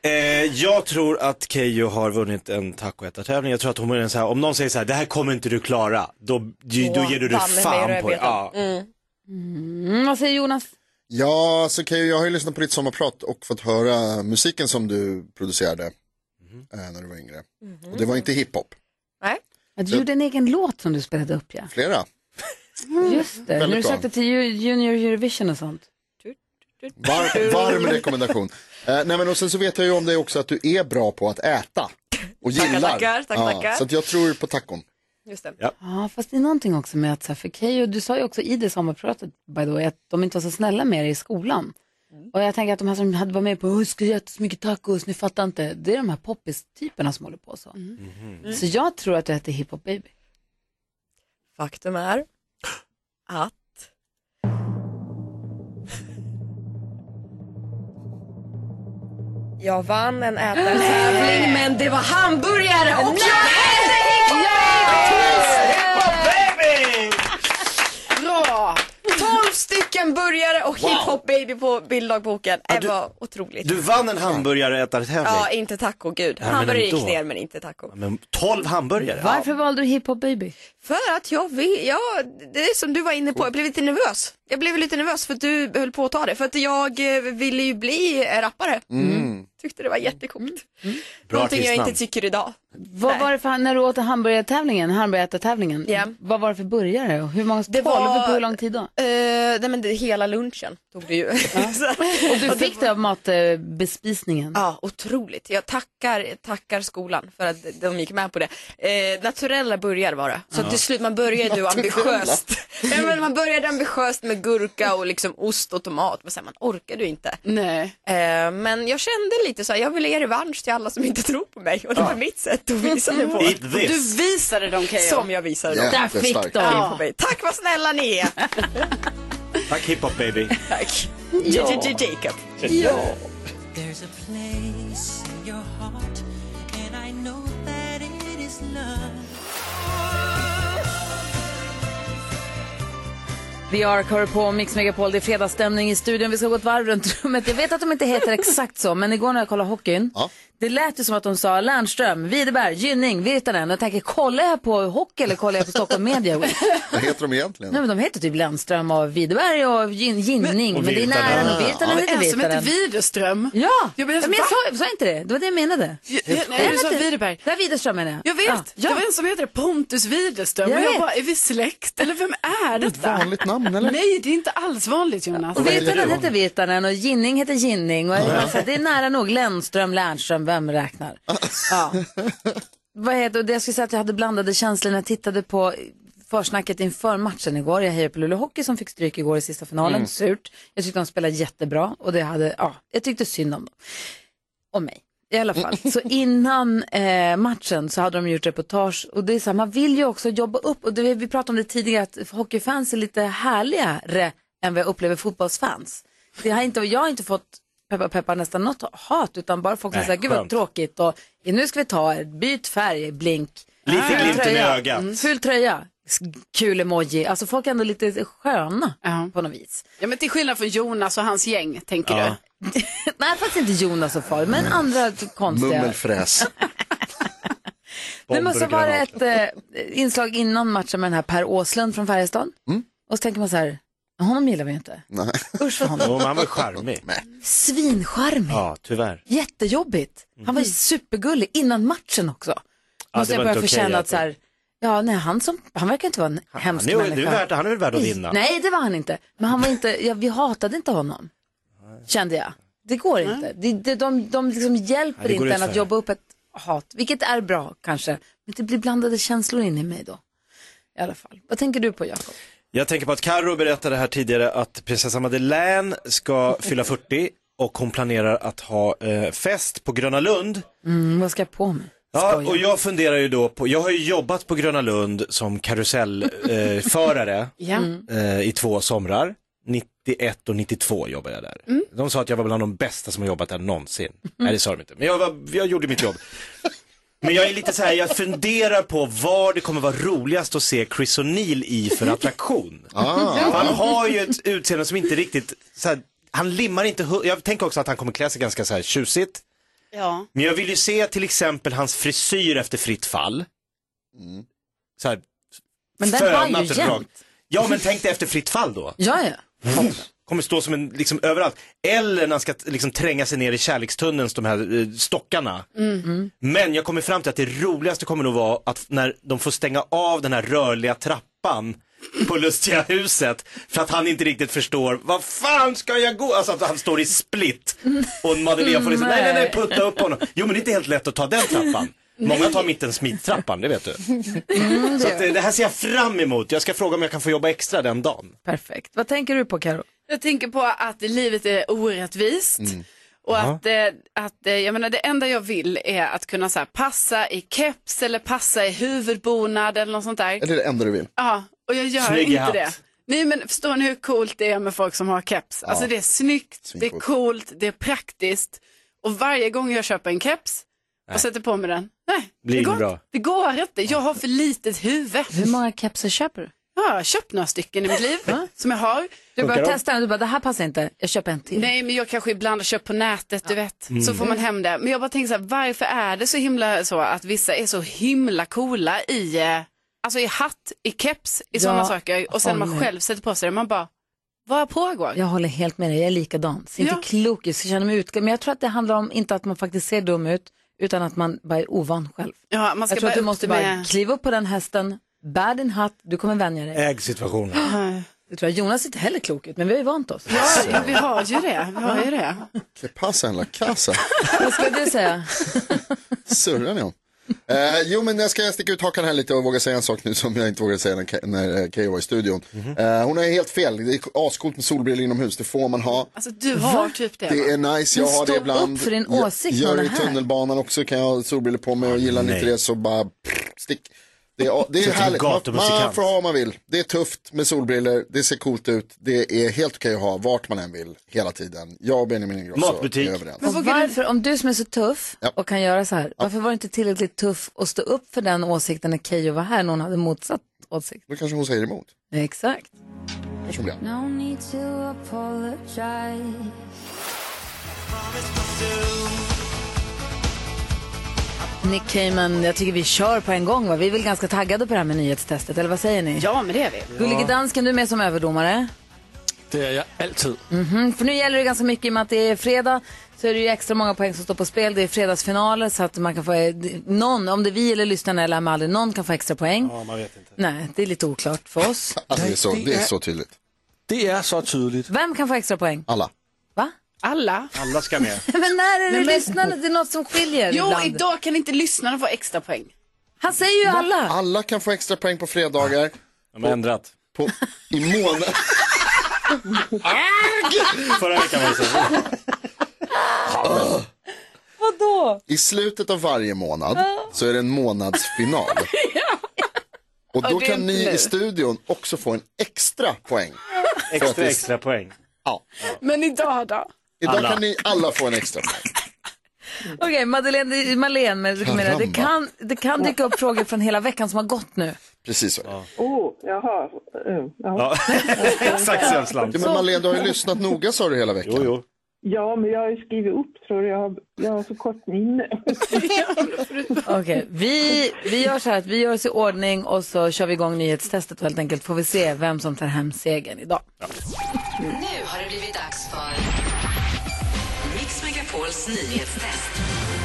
C: Eh, jag tror att Keyyo har vunnit en tacoätartävling. Jag tror att hon är en så här, om någon säger så här, det här kommer inte du klara, då, då ger du dig
B: banne mig
C: fan på det.
B: rödbetan.
C: Ja.
B: Mm, vad säger Jonas?
D: Ja, så kan jag, jag har ju lyssnat på ditt sommarprat och fått höra musiken som du producerade
B: Mhm.
D: eh, när du var yngre.
B: Mm.
D: Och det var inte hiphop,
O: Nej.
B: Att du gjorde en egen låt som du spelade upp, ja.
D: flera.
B: Just det,
D: Väldigt
B: när du
D: bra.
B: sökte till ju- Junior Eurovision och sånt. *laughs*
D: Var, varm rekommendation. Eh, nej men och sen så vet jag ju om dig också att du är bra på att äta. Och
B: Tackar,
D: gillar.
B: tackar, tack, tackar.
D: Så att jag tror på tacon.
O: Just det.
C: Ja.
B: Ja, fast det är någonting också med att, så här, för Keyyo, du sa ju också i det sommarpratet, by the way, att de inte var så snälla med dig i skolan. Och jag tänker att de här som hade varit med på, "Åh, ska jag äta så mycket tacos, ni fattar inte, det är de här poppis-typerna som håller på så.
I: Mm.
B: Så jag tror att du heter Hiphop Baby.
O: Faktum är att jag vann en ätartävling men det var hamburgare och jag hette hiphop
C: baby!
O: Bra! 12 stycken burgare och hiphop baby på bilddagboken. Det var otroligt.
C: Du vann en hamburgareätartävling.
O: Ja, inte taco, gud.
C: Ja, men
O: hamburgare gick
C: ändå.
O: ner men inte taco.
C: Men 12 hamburgare.
B: Varför valde du Hiphop Baby?
O: För att jag vill, ja, det är som du var inne på, jag blev lite nervös. Jag blev lite nervös för att du höll på att ta det, för att jag eh, ville ju bli eh, rappare.
C: Mm.
O: Tyckte det var jättecoolt.
C: Bra
O: Någonting jag
C: artistnamn.
O: inte tycker idag.
B: Mm. Vad var det för, när du åt hamburgertävlingen, hamburgertätartävlingen,
O: Ja.
B: vad var det för burgare och hur många, tolv,
O: var-
B: på
O: *laughs*
B: hur lång tid då?
O: Eh, nej men det, hela lunchen tog det ju.
B: Och du fick det av matbespisningen?
O: Ja, otroligt. Jag tackar, tackar skolan för att de gick med på det. Eh, naturella burgare var det. Så
I: Ja.
O: till slut, man började ju
I: Naturella.
O: ambitiöst. Nej, men man började ambitiöst med gurka och liksom ost och tomat, men sen man orkade ju inte.
G: Nej.
O: Eh, men jag kände lite så här, jag vill ge revansch till alla som inte tror på mig och det var mitt sätt att visa det på.
G: Eat this. Du visade dem Keyyo.
O: Som jag visade dem.
G: Där fick Jättestarkt. de.
O: Ja. På mig. Tack vad snälla ni är.
C: Tack hiphop baby.
O: Tack.
C: Ja.
O: JJJ Jacob.
C: Ja.
I: There's a place in your heart, and I know that it is love.
B: The Ark hör på Mix Megapol. Det är fredagsstämning i studion. Vi ska gå ett varv runt rummet. Jag vet att de inte heter exakt så, men igår när jag kollade hockeyn, det lät ju som att de sa Lernström, Widerberg, Gynning, Virtanen. Jag tänker, kollar jag på hockey eller kollar jag på Stockholm Media Week?
D: Vad heter de egentligen?
B: Nej, men de heter typ Lernström och Widerberg och Gyn- Gynning. Men, det är nära nog Virtanen.
G: Men
B: heter
G: en som heter
B: Virtanen.
G: Widerström.
B: Ja, ja men jag,
G: Va?
B: sa, sa inte det. Det var det jag menade.
G: ja, nej, du sa
B: Widerberg. Det är Widerström menar jag.
G: Jag vet,
B: Ah, Ja.
G: det var en som heter Pontus Widerström
B: Jag
G: och jag
B: vet.
G: bara, är vi släkt eller vem är detta?
D: vanligt namn
B: eller?
G: Nej, det är inte alls vanligt Jonas.
B: Och Virtanen heter Virtanen och Ginning heter Ginning. Och alltså, det är nära nog Lennström, Lernström, vem räknar? Ja. Vad heter, och det jag skulle säga att jag hade blandade känslor när jag tittade på försnacket inför matchen igår. Jag hejar på Luleå Hockey som fick stryk igår i sista finalen.
I: Mm.
B: Surt. Jag tyckte de spelade jättebra och det hade, ja, jag tyckte synd om dem. Om mig. I alla fall, så innan eh, matchen så hade de gjort reportage och det är så här, man vill ju också jobba upp och det, vi pratade om det tidigare att hockeyfans är lite härligare än vad jag upplever fotbollsfans. Det har inte, och jag har inte fått peppa peppa nästan något hat utan bara folk som
I: Nej,
B: säger gud vad
I: skönt.
B: tråkigt och nu ska vi ta er, byt färg, blink.
I: Lite
B: Ful
I: glimten i
B: tröja.
I: ögat.
B: Mm. Ful tröja, sk- kul emoji, alltså folk är ändå lite sköna på något vis.
G: Ja, men till skillnad från Jonas och hans gäng, tänker
B: Ja.
G: du?
B: Nej, faktiskt inte Jonas och far, men andra konstiga. *laughs* alltså,
D: Mummelfräs.
B: Det måste
D: Bomber och
B: vara ett eh, inslag innan matchen med den här Per Åslund från Färjestad. Och så tänker man så här, honom gillar vi ju inte.
D: Nej.
B: Usch för honom.
C: Jo, men han var charmig.
B: Svincharmig.
C: Ja, tyvärr.
B: Jättejobbigt. Han var ju supergullig innan matchen också.
C: Mm. det
B: Måste
C: var
B: jag börja
C: inte
B: få
C: okej,
B: känna att
C: alltså.
B: så här, ja, nej, han, som, han verkar inte vara en hemsk
C: han är ju-
B: människa.
C: det är värt- han är väl värd att vinna.
B: Nej, det var han inte. Men han
C: *laughs*
B: var inte, ja, vi hatade inte honom, kände jag. Det går inte. Det, det, de de liksom hjälper
I: Nej, det går
B: inte en
I: ut
B: att
I: för.
B: jobba upp ett hat, vilket är bra kanske. Men det blir blandade känslor in i mig då. I alla fall. Vad tänker du på, Jakob?
C: Jag tänker på att Carro berättade här tidigare att prinsessa Madeleine ska fylla 40 och hon planerar att ha eh, fest på Gröna Lund.
B: Mm, vad ska jag på mig?
C: Ja, och jag funderar ju då på, jag har ju jobbat på Gröna Lund som karusellförare eh, förare,
G: Ja.
C: eh, i två somrar. 91 och 92 jobbade jag där. De sa att jag var bland de bästa som har jobbat där någonsin. Nej, det sa de inte. Men jag, var, jag gjorde mitt jobb. Men jag är lite så här, jag funderar på vad det kommer vara roligast att se Chris O'Neill i för attraktion.
I: Ah.
C: För Han har ju ett utseende som inte riktigt, så här, han limmar inte, hu- jag tänker också att han kommer klä sig ganska så här tjusigt.
G: Ja.
C: Men jag vill ju se till exempel hans frisyr efter fritt fall. Mm. Så här,
B: Men den var ju
C: fönat och
B: jämnt.
C: rakt. Ja, men tänk dig efter fritt fall då.
B: Ja, ja.
C: Kommer stå som en, liksom överallt. Eller när han ska liksom tränga sig ner i kärlekstunneln, de här eh, stockarna. *laughs*
I: Mm.
C: Men jag kommer fram till att det roligaste kommer nog vara att när de får stänga av den här rörliga trappan på Lustiga huset för att han inte riktigt förstår, vad fan ska jag gå? Alltså att han står i split och Madeleine får liksom, nej nej nej, putta upp honom. Jo men det är inte helt lätt att ta den trappan. Många tar mitten smittrappan, det vet du.
B: Mm,
C: Så att, eh, det här ser jag fram emot. Jag ska fråga om jag kan få jobba extra den dagen.
B: Perfekt. Vad tänker du på, Karo?
G: Jag tänker på att livet är orättvist. Och
I: Ja.
G: att, eh, att eh, jag menar, det enda jag vill är att kunna så här, passa i keps eller passa i huvudbonad eller något sånt där.
D: Är det det enda du vill?
G: Ja, och jag gör
D: Snygg i
G: inte
D: hatt.
G: det. Nej men förstår ni hur coolt det är med folk som har keps?
D: Ja.
G: Alltså det är snyggt, det är
D: Svincoolt.
G: coolt, det är praktiskt. Och varje gång jag köper en keps och
C: Nej.
G: sätter på mig den, nej,
C: Blir
G: det
C: inget
G: går,
C: bra.
G: inte. det går inte. Jag har för litet huvud.
B: Hur många kepsar köper du?
G: Ja, jag har köpt några stycken i mitt liv som jag har.
B: Du bara testar den, du bara, det här passar inte, jag köper en till.
G: Nej, men jag kanske ibland har köpt på nätet, du vet.
B: Mm.
G: Så får man hem det. Men jag bara tänker så här, varför är det så himla så att vissa är så himla coola i, eh, alltså i hatt, i keps, i
B: Ja,
G: sådana saker. Och sen när man
B: håller.
G: själv sätter på sig det, man bara, vad pågår?
B: Jag håller helt med dig, jag är likadan. Ser inte
G: Ja.
B: klok ut, så känner mig utglömd. Men jag tror att det handlar om, inte att man faktiskt ser dum ut, utan att man bara är ovan själv.
G: Ja, man ska
B: jag
G: bara
B: tror att du
G: upp
B: måste
G: det med-
B: bara kliva upp på den hästen, bär din hatt, du kommer vänja dig.
C: Äg situationen.
B: Det tror jag. Jonas ser inte heller klok ut, men vi har ju vant oss.
G: Ja, vi har ju det, vi har ju det.
D: Det passar en la casa.
B: *laughs* Vad ska du
G: *laughs*
B: säga?
D: surrar ni om? Eh, jo, men jag ska sticka ut hakan här lite och våga säga en sak nu som jag inte vågade säga när, Ka- när eh, Keyyo var i studion. Eh, hon har ju helt fel. Det är ascoolt med solbrillor inomhus, det får man ha.
G: Alltså du har typ det.
D: Det
G: va?
D: är nice, jag
G: Men
D: har det
G: stå
D: ibland.
G: upp för din
D: Jag-
G: åsikt när
D: Gör
G: man
D: det
G: är
D: i
G: här.
D: tunnelbanan också, kan jag ha solbrillor på mig och gillar ni inte
C: Nej.
D: det så bara pff, stick. Det är, det
C: Så
D: är
C: till
D: härligt, man,
C: gatumusikant.
D: man får ha vad man vill. Det är tufft med solbrillor, det ser coolt ut, det är helt okej att ha vart man än vill, hela tiden. Jag och Benjamin Ingrosso
C: Matbutik.
D: är överens.
B: Och varför, om du som är så tuff och kan göra så här, varför var du inte tillräckligt tuff och stå upp för den åsikten när Keyyo var här, när hon hade motsatt åsikt?
D: Då kanske hon säger emot.
B: Exakt.
D: personliga.
I: No need to apologize.
B: Nick Cayman, jag tycker vi kör på en gång. Va? Vi är väl ganska taggade på det här med nyhetstestet, eller vad säger ni?
G: Ja, men det är vi.
B: Gullige dansken, du är med som överdomare.
J: Det är jag alltid.
B: Mhm, För nu gäller det ganska mycket i och med att det är fredag så är det ju extra många poäng som står på spel. Det är fredagsfinaler så att man kan få eh, någon, om det är vi eller lyssnarna eller aldrig, någon kan få extra poäng.
C: Ja, man vet inte.
B: Nej, det är lite oklart för oss.
D: Alltså det är så, det är så tydligt.
J: Det är så tydligt.
B: Vem kan få extra poäng?
D: Alla.
B: Va?
G: Alla?
C: Alla ska med.
B: *laughs* Men när är det
G: Nej, men-
B: lyssnarna? Det är något som skiljer
G: Jo,
B: ibland.
G: idag kan inte lyssnarna få extra poäng.
B: Han säger ju alla.
D: Alla kan få extra poäng på fredagar.
C: De har ändrat.
D: På, I månaden.
C: Förra veckan var
I: *laughs*
C: det så.
B: Vadå?
D: I slutet av varje månad så är det
I: *laughs*
D: en månadsfinal. Och då
I: Och det är
D: kan
I: inte
D: ni
I: nu.
D: i studion också få en extra poäng. För att
C: Extra,
D: vi-
C: extra poäng.
D: Ja.
G: Men idag då?
D: Idag
C: Alla.
D: kan ni alla få en extra poäng.
B: Okej, Madeleine, det- Madeleine men jag menar, det,
D: Caramba.
B: kan, det kan dyka upp frågor från hela veckan som har gått nu.
D: Precis så.
L: Oh, jaha. Eh,
C: Ja. *laughs* Exakt så
D: Ja,
C: slant.
D: men Malin, du har ju lyssnat noga sa du hela veckan. Jo,
C: jo.
L: Ja, men jag har ju skrivit upp tror jag. Jag har, jag har så kort minne.
B: Okej, vi, vi gör så här att vi gör oss i ordning och så kör vi igång nyhetstestet och helt enkelt får vi se vem som tar hem segern idag.
H: Nu har det blivit dags för Mix Megapols nyhetstest.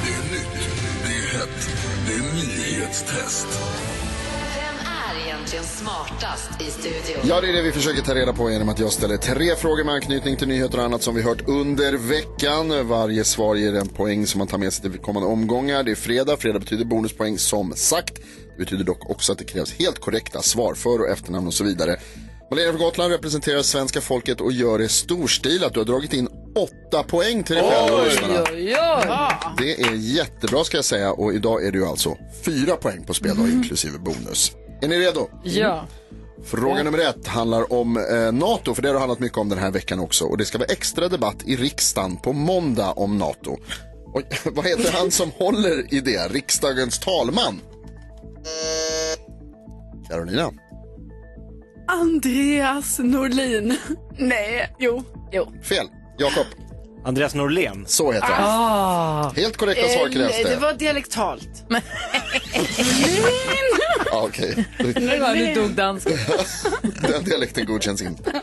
I: Det är nytt, det är hett, det är nyhetstest.
H: Vem är egentligen smartast i studion?
D: Ja, det är det vi försöker ta reda på genom att jag ställer tre frågor med anknytning till nyheter och annat som vi hört under veckan. Varje svar ger en poäng som man tar med sig till kommande omgångar. Det är fredag, fredag betyder bonuspoäng som sagt. Det betyder dock också att det krävs helt korrekta svar för och efternamn och så vidare. Malena från Gotland representerar svenska folket och gör det storstilat. Du har dragit in åtta poäng till dig själv och lyssnarna. Det är jättebra ska jag säga och idag är det ju alltså fyra poäng på spel då, inklusive bonus. Är ni redo?
B: Mm. Ja.
D: Fråga nummer ett handlar om eh, NATO, för det har det handlat mycket om den här veckan också. Och det ska vara extra debatt i riksdagen på måndag om NATO. Och, *laughs* vad heter han som håller i det? Riksdagens talman? Carolina.
G: Andreas Norlin. *laughs* Nej, jo. jo.
D: Fel. Jakob.
C: Andreas Norlén.
D: Så heter han.
B: Ah.
D: Helt korrekta svar krävs
G: Eh,
D: det.
G: det var dialektalt.
D: Ja, Okej,
B: *laughs* Nu dog dansken.
D: den dialekten godkänns inte.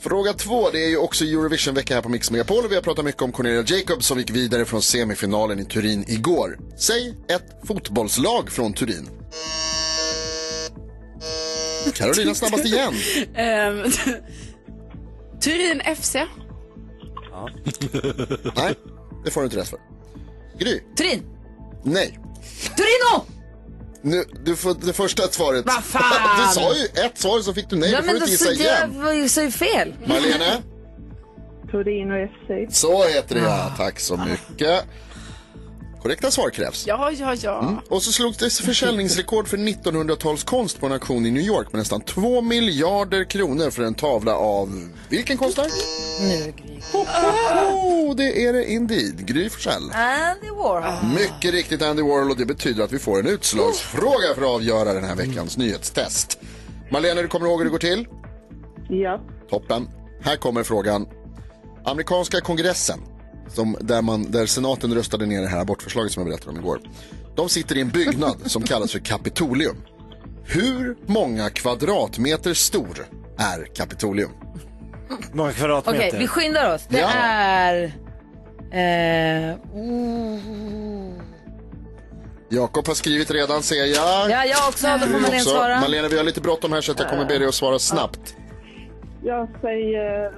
D: Fråga två, det är ju också Eurovision-vecka här på Mix Megapol och vi har pratat mycket om Cornelia Jacobs som gick vidare från semifinalen i Turin igår. Säg ett fotbollslag från Turin. Carolina snabbast igen.
G: *laughs* Ehm, Turin FC.
D: Nej, det får du inte rätt för. Gry.
B: Turin.
D: Nej.
B: Torino!
D: Nu, du får det första svaret.
B: Vad fan!
D: *laughs* Du sa ju ett svar så fick du nej.
B: ja,
D: du får
B: men
D: du
B: då
D: inte gissa
B: så
D: igen.
B: jag sa ju fel.
D: Malena.
L: Torino FC.
D: Så heter det ja. Tack så mycket. Korrekta svar krävs.
G: Ja, ja, ja.
D: Mm. Och så slogs det försäljningsrekord för 1900-talskonst på en auktion i New York med nästan 2 miljarder kronor för en tavla av vilken konstnär?
B: Nu,
D: Oh, det är det indeed. Gry Forssell.
B: Andy Warhol.
D: Mycket riktigt Andy Warhol och det betyder att vi får en utslagsfråga för att avgöra den här veckans nyhetstest. Malena, du kommer ihåg hur det går till?
L: Ja.
D: Toppen. Här kommer frågan. Amerikanska kongressen, som, där, man, där senaten röstade ner det här abortförslaget som jag berättade om igår. De sitter i en byggnad som
B: *laughs*
D: kallas för Kapitolium. Hur många kvadratmeter stor är Kapitolium?
C: Många
B: Okej,
C: kvadratmeter.
B: vi skyndar oss. Det
D: Ah. Ja.
B: är... Eh, oh.
D: Jakob har skrivit redan ser jag.
B: Ja, jag också. Då får
D: Du
B: Malena
D: också.
B: svara.
D: Malena, vi har lite bråttom här så att jag kommer be dig att svara snabbt.
L: Jag säger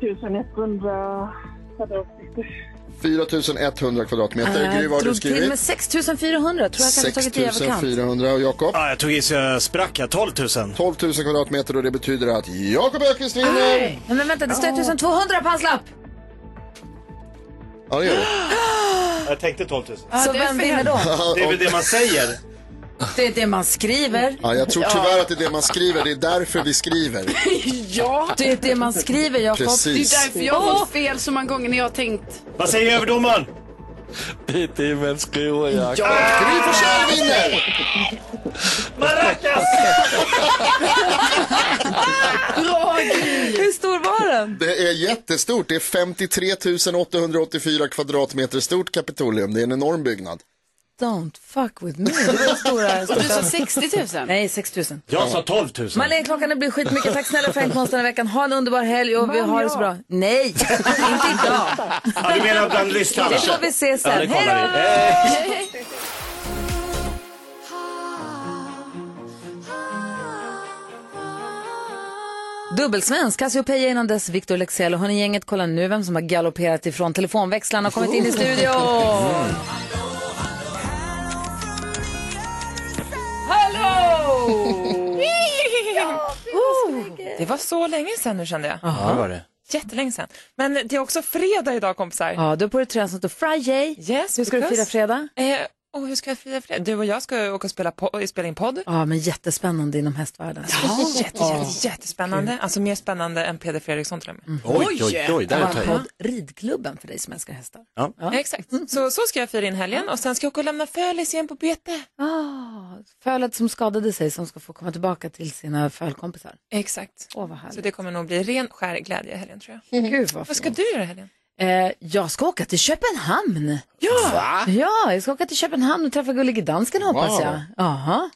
L: 4100 kvadratmeter.
D: 4100 kvadratmeter.
B: Jag
D: Gry, vad har du
B: eh, drog till
D: skrivit?
B: med 6400. Tror jag kanske tagit i överkant.
D: 6400 och Jakob?
C: Ja, jag tog i så jag sprack här. 12 000.
D: 12 000 kvadratmeter och det betyder att Jakob Öqvist vinner!
B: Nej, men vänta, det står 1200 på hans lapp.
D: Ja, det gör det.
C: *gasps* Jag tänkte 12 000.
B: Så vem
D: *laughs*
B: vinner då?
C: Det är väl det man säger.
B: Det är det man skriver.
D: Ja, jag tror tyvärr att det är det man skriver. Det är därför vi skriver.
G: *laughs* ja.
B: Det är det man skriver, Jakob.
D: Precis.
G: Det är därför jag har fått fel så många gånger när jag har tänkt.
C: Vad säger överdomaren?
J: Det är det man skriver, Jakob.
G: *laughs*
D: Gry Forssell vinner!
I: Maracas!
B: Bra Hur stor var den?
D: Det är jättestort. Det är 53 884 kvadratmeter stort Kapitolium. Det är en enorm byggnad.
B: Don't fuck with me. Det var stora,
G: *laughs* Och du sa 60 000?
B: Nej, 6 000.
C: Jag sa 12 000.
B: Malin, klockan har blivit skitmycket. Tack snälla för hänkonsten i veckan. Ha en underbar helg och vi
C: Vann
B: har det
C: jag?
B: så bra. Nej, inte idag.
C: Ja, *laughs* du menar bland lyssnarna?
B: Det får vi se sen.
C: Ja, det kollar vi.
B: Hej då!
C: Hej.
B: Dubbelsvensk, Cassiopeia innan dess, Victor Lexell och hörni gänget kollar nu vem som har galopperat ifrån telefonväxlarna och kommit in i studion. Hallå!
S: Ja, Oh! Det var så länge sedan nu kände jag.
B: Ja, det var det.
S: Jättelänge sedan. Men det är också fredag idag kompisar.
B: Ja, du har på dig tröjan som står Friday.
S: Yes,
B: Hur ska du
S: because-
B: fira fredag?
S: Eh, och hur ska jag fira fredag? Du och jag ska ju åka och spela, po- spela in podd.
B: Ja, men jättespännande inom hästvärlden.
S: Ja, jätte, jätte, jättespännande.
B: Kul.
S: Alltså mer spännande än Peder Fredriksson till och med.
B: Oj, oj, oj, där är podd Ridklubben för dig som älskar hästar.
C: Ja.
S: Exakt. Så, så ska jag fira in helgen och sen ska jag åka och lämna Fölis igen på bete.
B: Ah, fölet som skadade sig som ska få komma tillbaka till sina fölkompisar.
S: Exakt.
B: Åh, vad härligt.
S: så det kommer nog bli ren skär glädje i helgen tror jag.
B: Gud vad
S: Mm. Vad ska
B: fint.
S: du göra i helgen?
B: Eh, jag ska åka till Köpenhamn.
S: Ja!
B: Ja, jag ska åka till Köpenhamn och träffa Gullige Dansken hoppas
J: Wow.
B: jag. Jaha.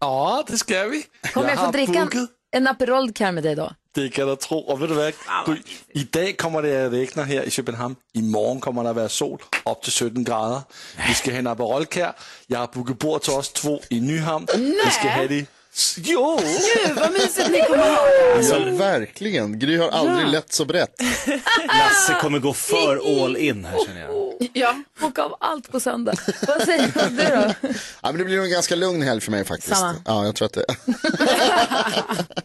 J: Ja, det ska vi.
B: Kommer jag,
J: har
B: få dricka
J: bokat-
B: en, en Aperol Care med dig då?
J: Det kan du tro. Och vet du vad? Gry, I dag kommer det att regna här i Köpenhamn. Imorgon kommer det att vara sol, upp till 17 grader. Vi ska ha en Aperolkär. Jag har bokat bord till oss två i Nyhamn. Vi ska ha det... Jo!
G: Gud, vad mysigt ni kommer ha.
D: Alltså, verkligen. Gry har aldrig
G: Ja.
D: lätt så brett.
C: *laughs* Lasse kommer gå för all in här känner jag.
B: Ja. Boka av allt på söndag. Vad säger du då?
D: Ja, men det blir nog en ganska lugn helg för mig faktiskt.
B: Samma.
D: Ja, jag tror att det... *laughs*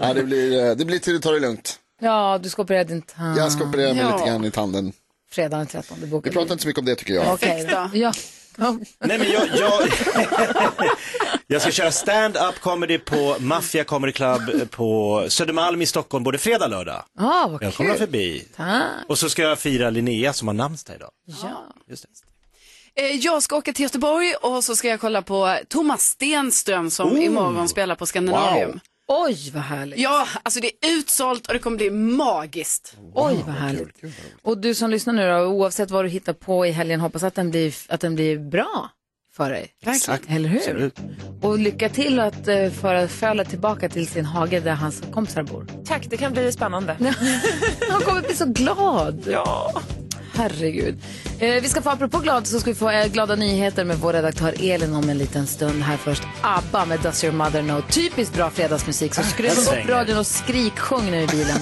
D: ja, det blir, eh, det blir till du tar det lugnt.
B: Ja, du ska operera din tand.
D: Jag ska operera mig
B: ja.
D: lite grann i tanden.
B: Fredagen den 13, det
D: Vi
B: bokar
D: pratar inte så mycket om det tycker jag.
B: Okej. Ja.
C: Nej, men jag, jag... jag ska köra stand-up comedy på Mafia Comedy Club på Södermalm i Stockholm både fredag och lördag.
B: Ah, vad
C: Välkomna
B: kul.
C: förbi.
B: Tack.
C: Och så ska jag fira Linnea som har namnsdag idag.
B: Ja.
C: Just det.
G: Eh, Jag ska åka till Göteborg och så ska jag kolla på Thomas Stenström som
B: Oh.
G: imorgon spelar på Scandinavium.
B: Wow. Oj, vad härligt.
G: Ja, alltså det är utsålt och det kommer bli magiskt.
B: Oj, vad härligt. Och du som lyssnar nu då, oavsett vad du hittar på i helgen, hoppas att den blir, att den blir bra för dig.
G: Exakt.
B: Eller hur? Och lycka till att eh, föra fölet tillbaka till sin hage där hans kompisar bor.
S: Tack, det kan bli spännande.
B: Han kommer bli så glad.
S: *laughs* Ja.
B: Herregud. Eh, vi ska få, apropå glad, så ska vi få eh, glada nyheter med vår redaktör Elin om en liten stund. Här först ABBA med Does Your Mother Know. Typiskt bra fredagsmusik. Så skruva
I: den
B: upp
I: svänger.
B: radion och skriksjung nu i bilen.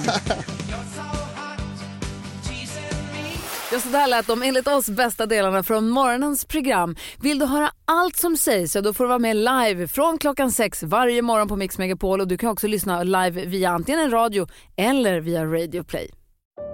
B: Ja, så där lät de enligt oss bästa delarna från morgonens program. Vill du höra allt som sägs, ja, då får du vara med live från klockan sex varje morgon på Mix Megapol. Och du kan också lyssna live via antingen en radio eller via Radio Play.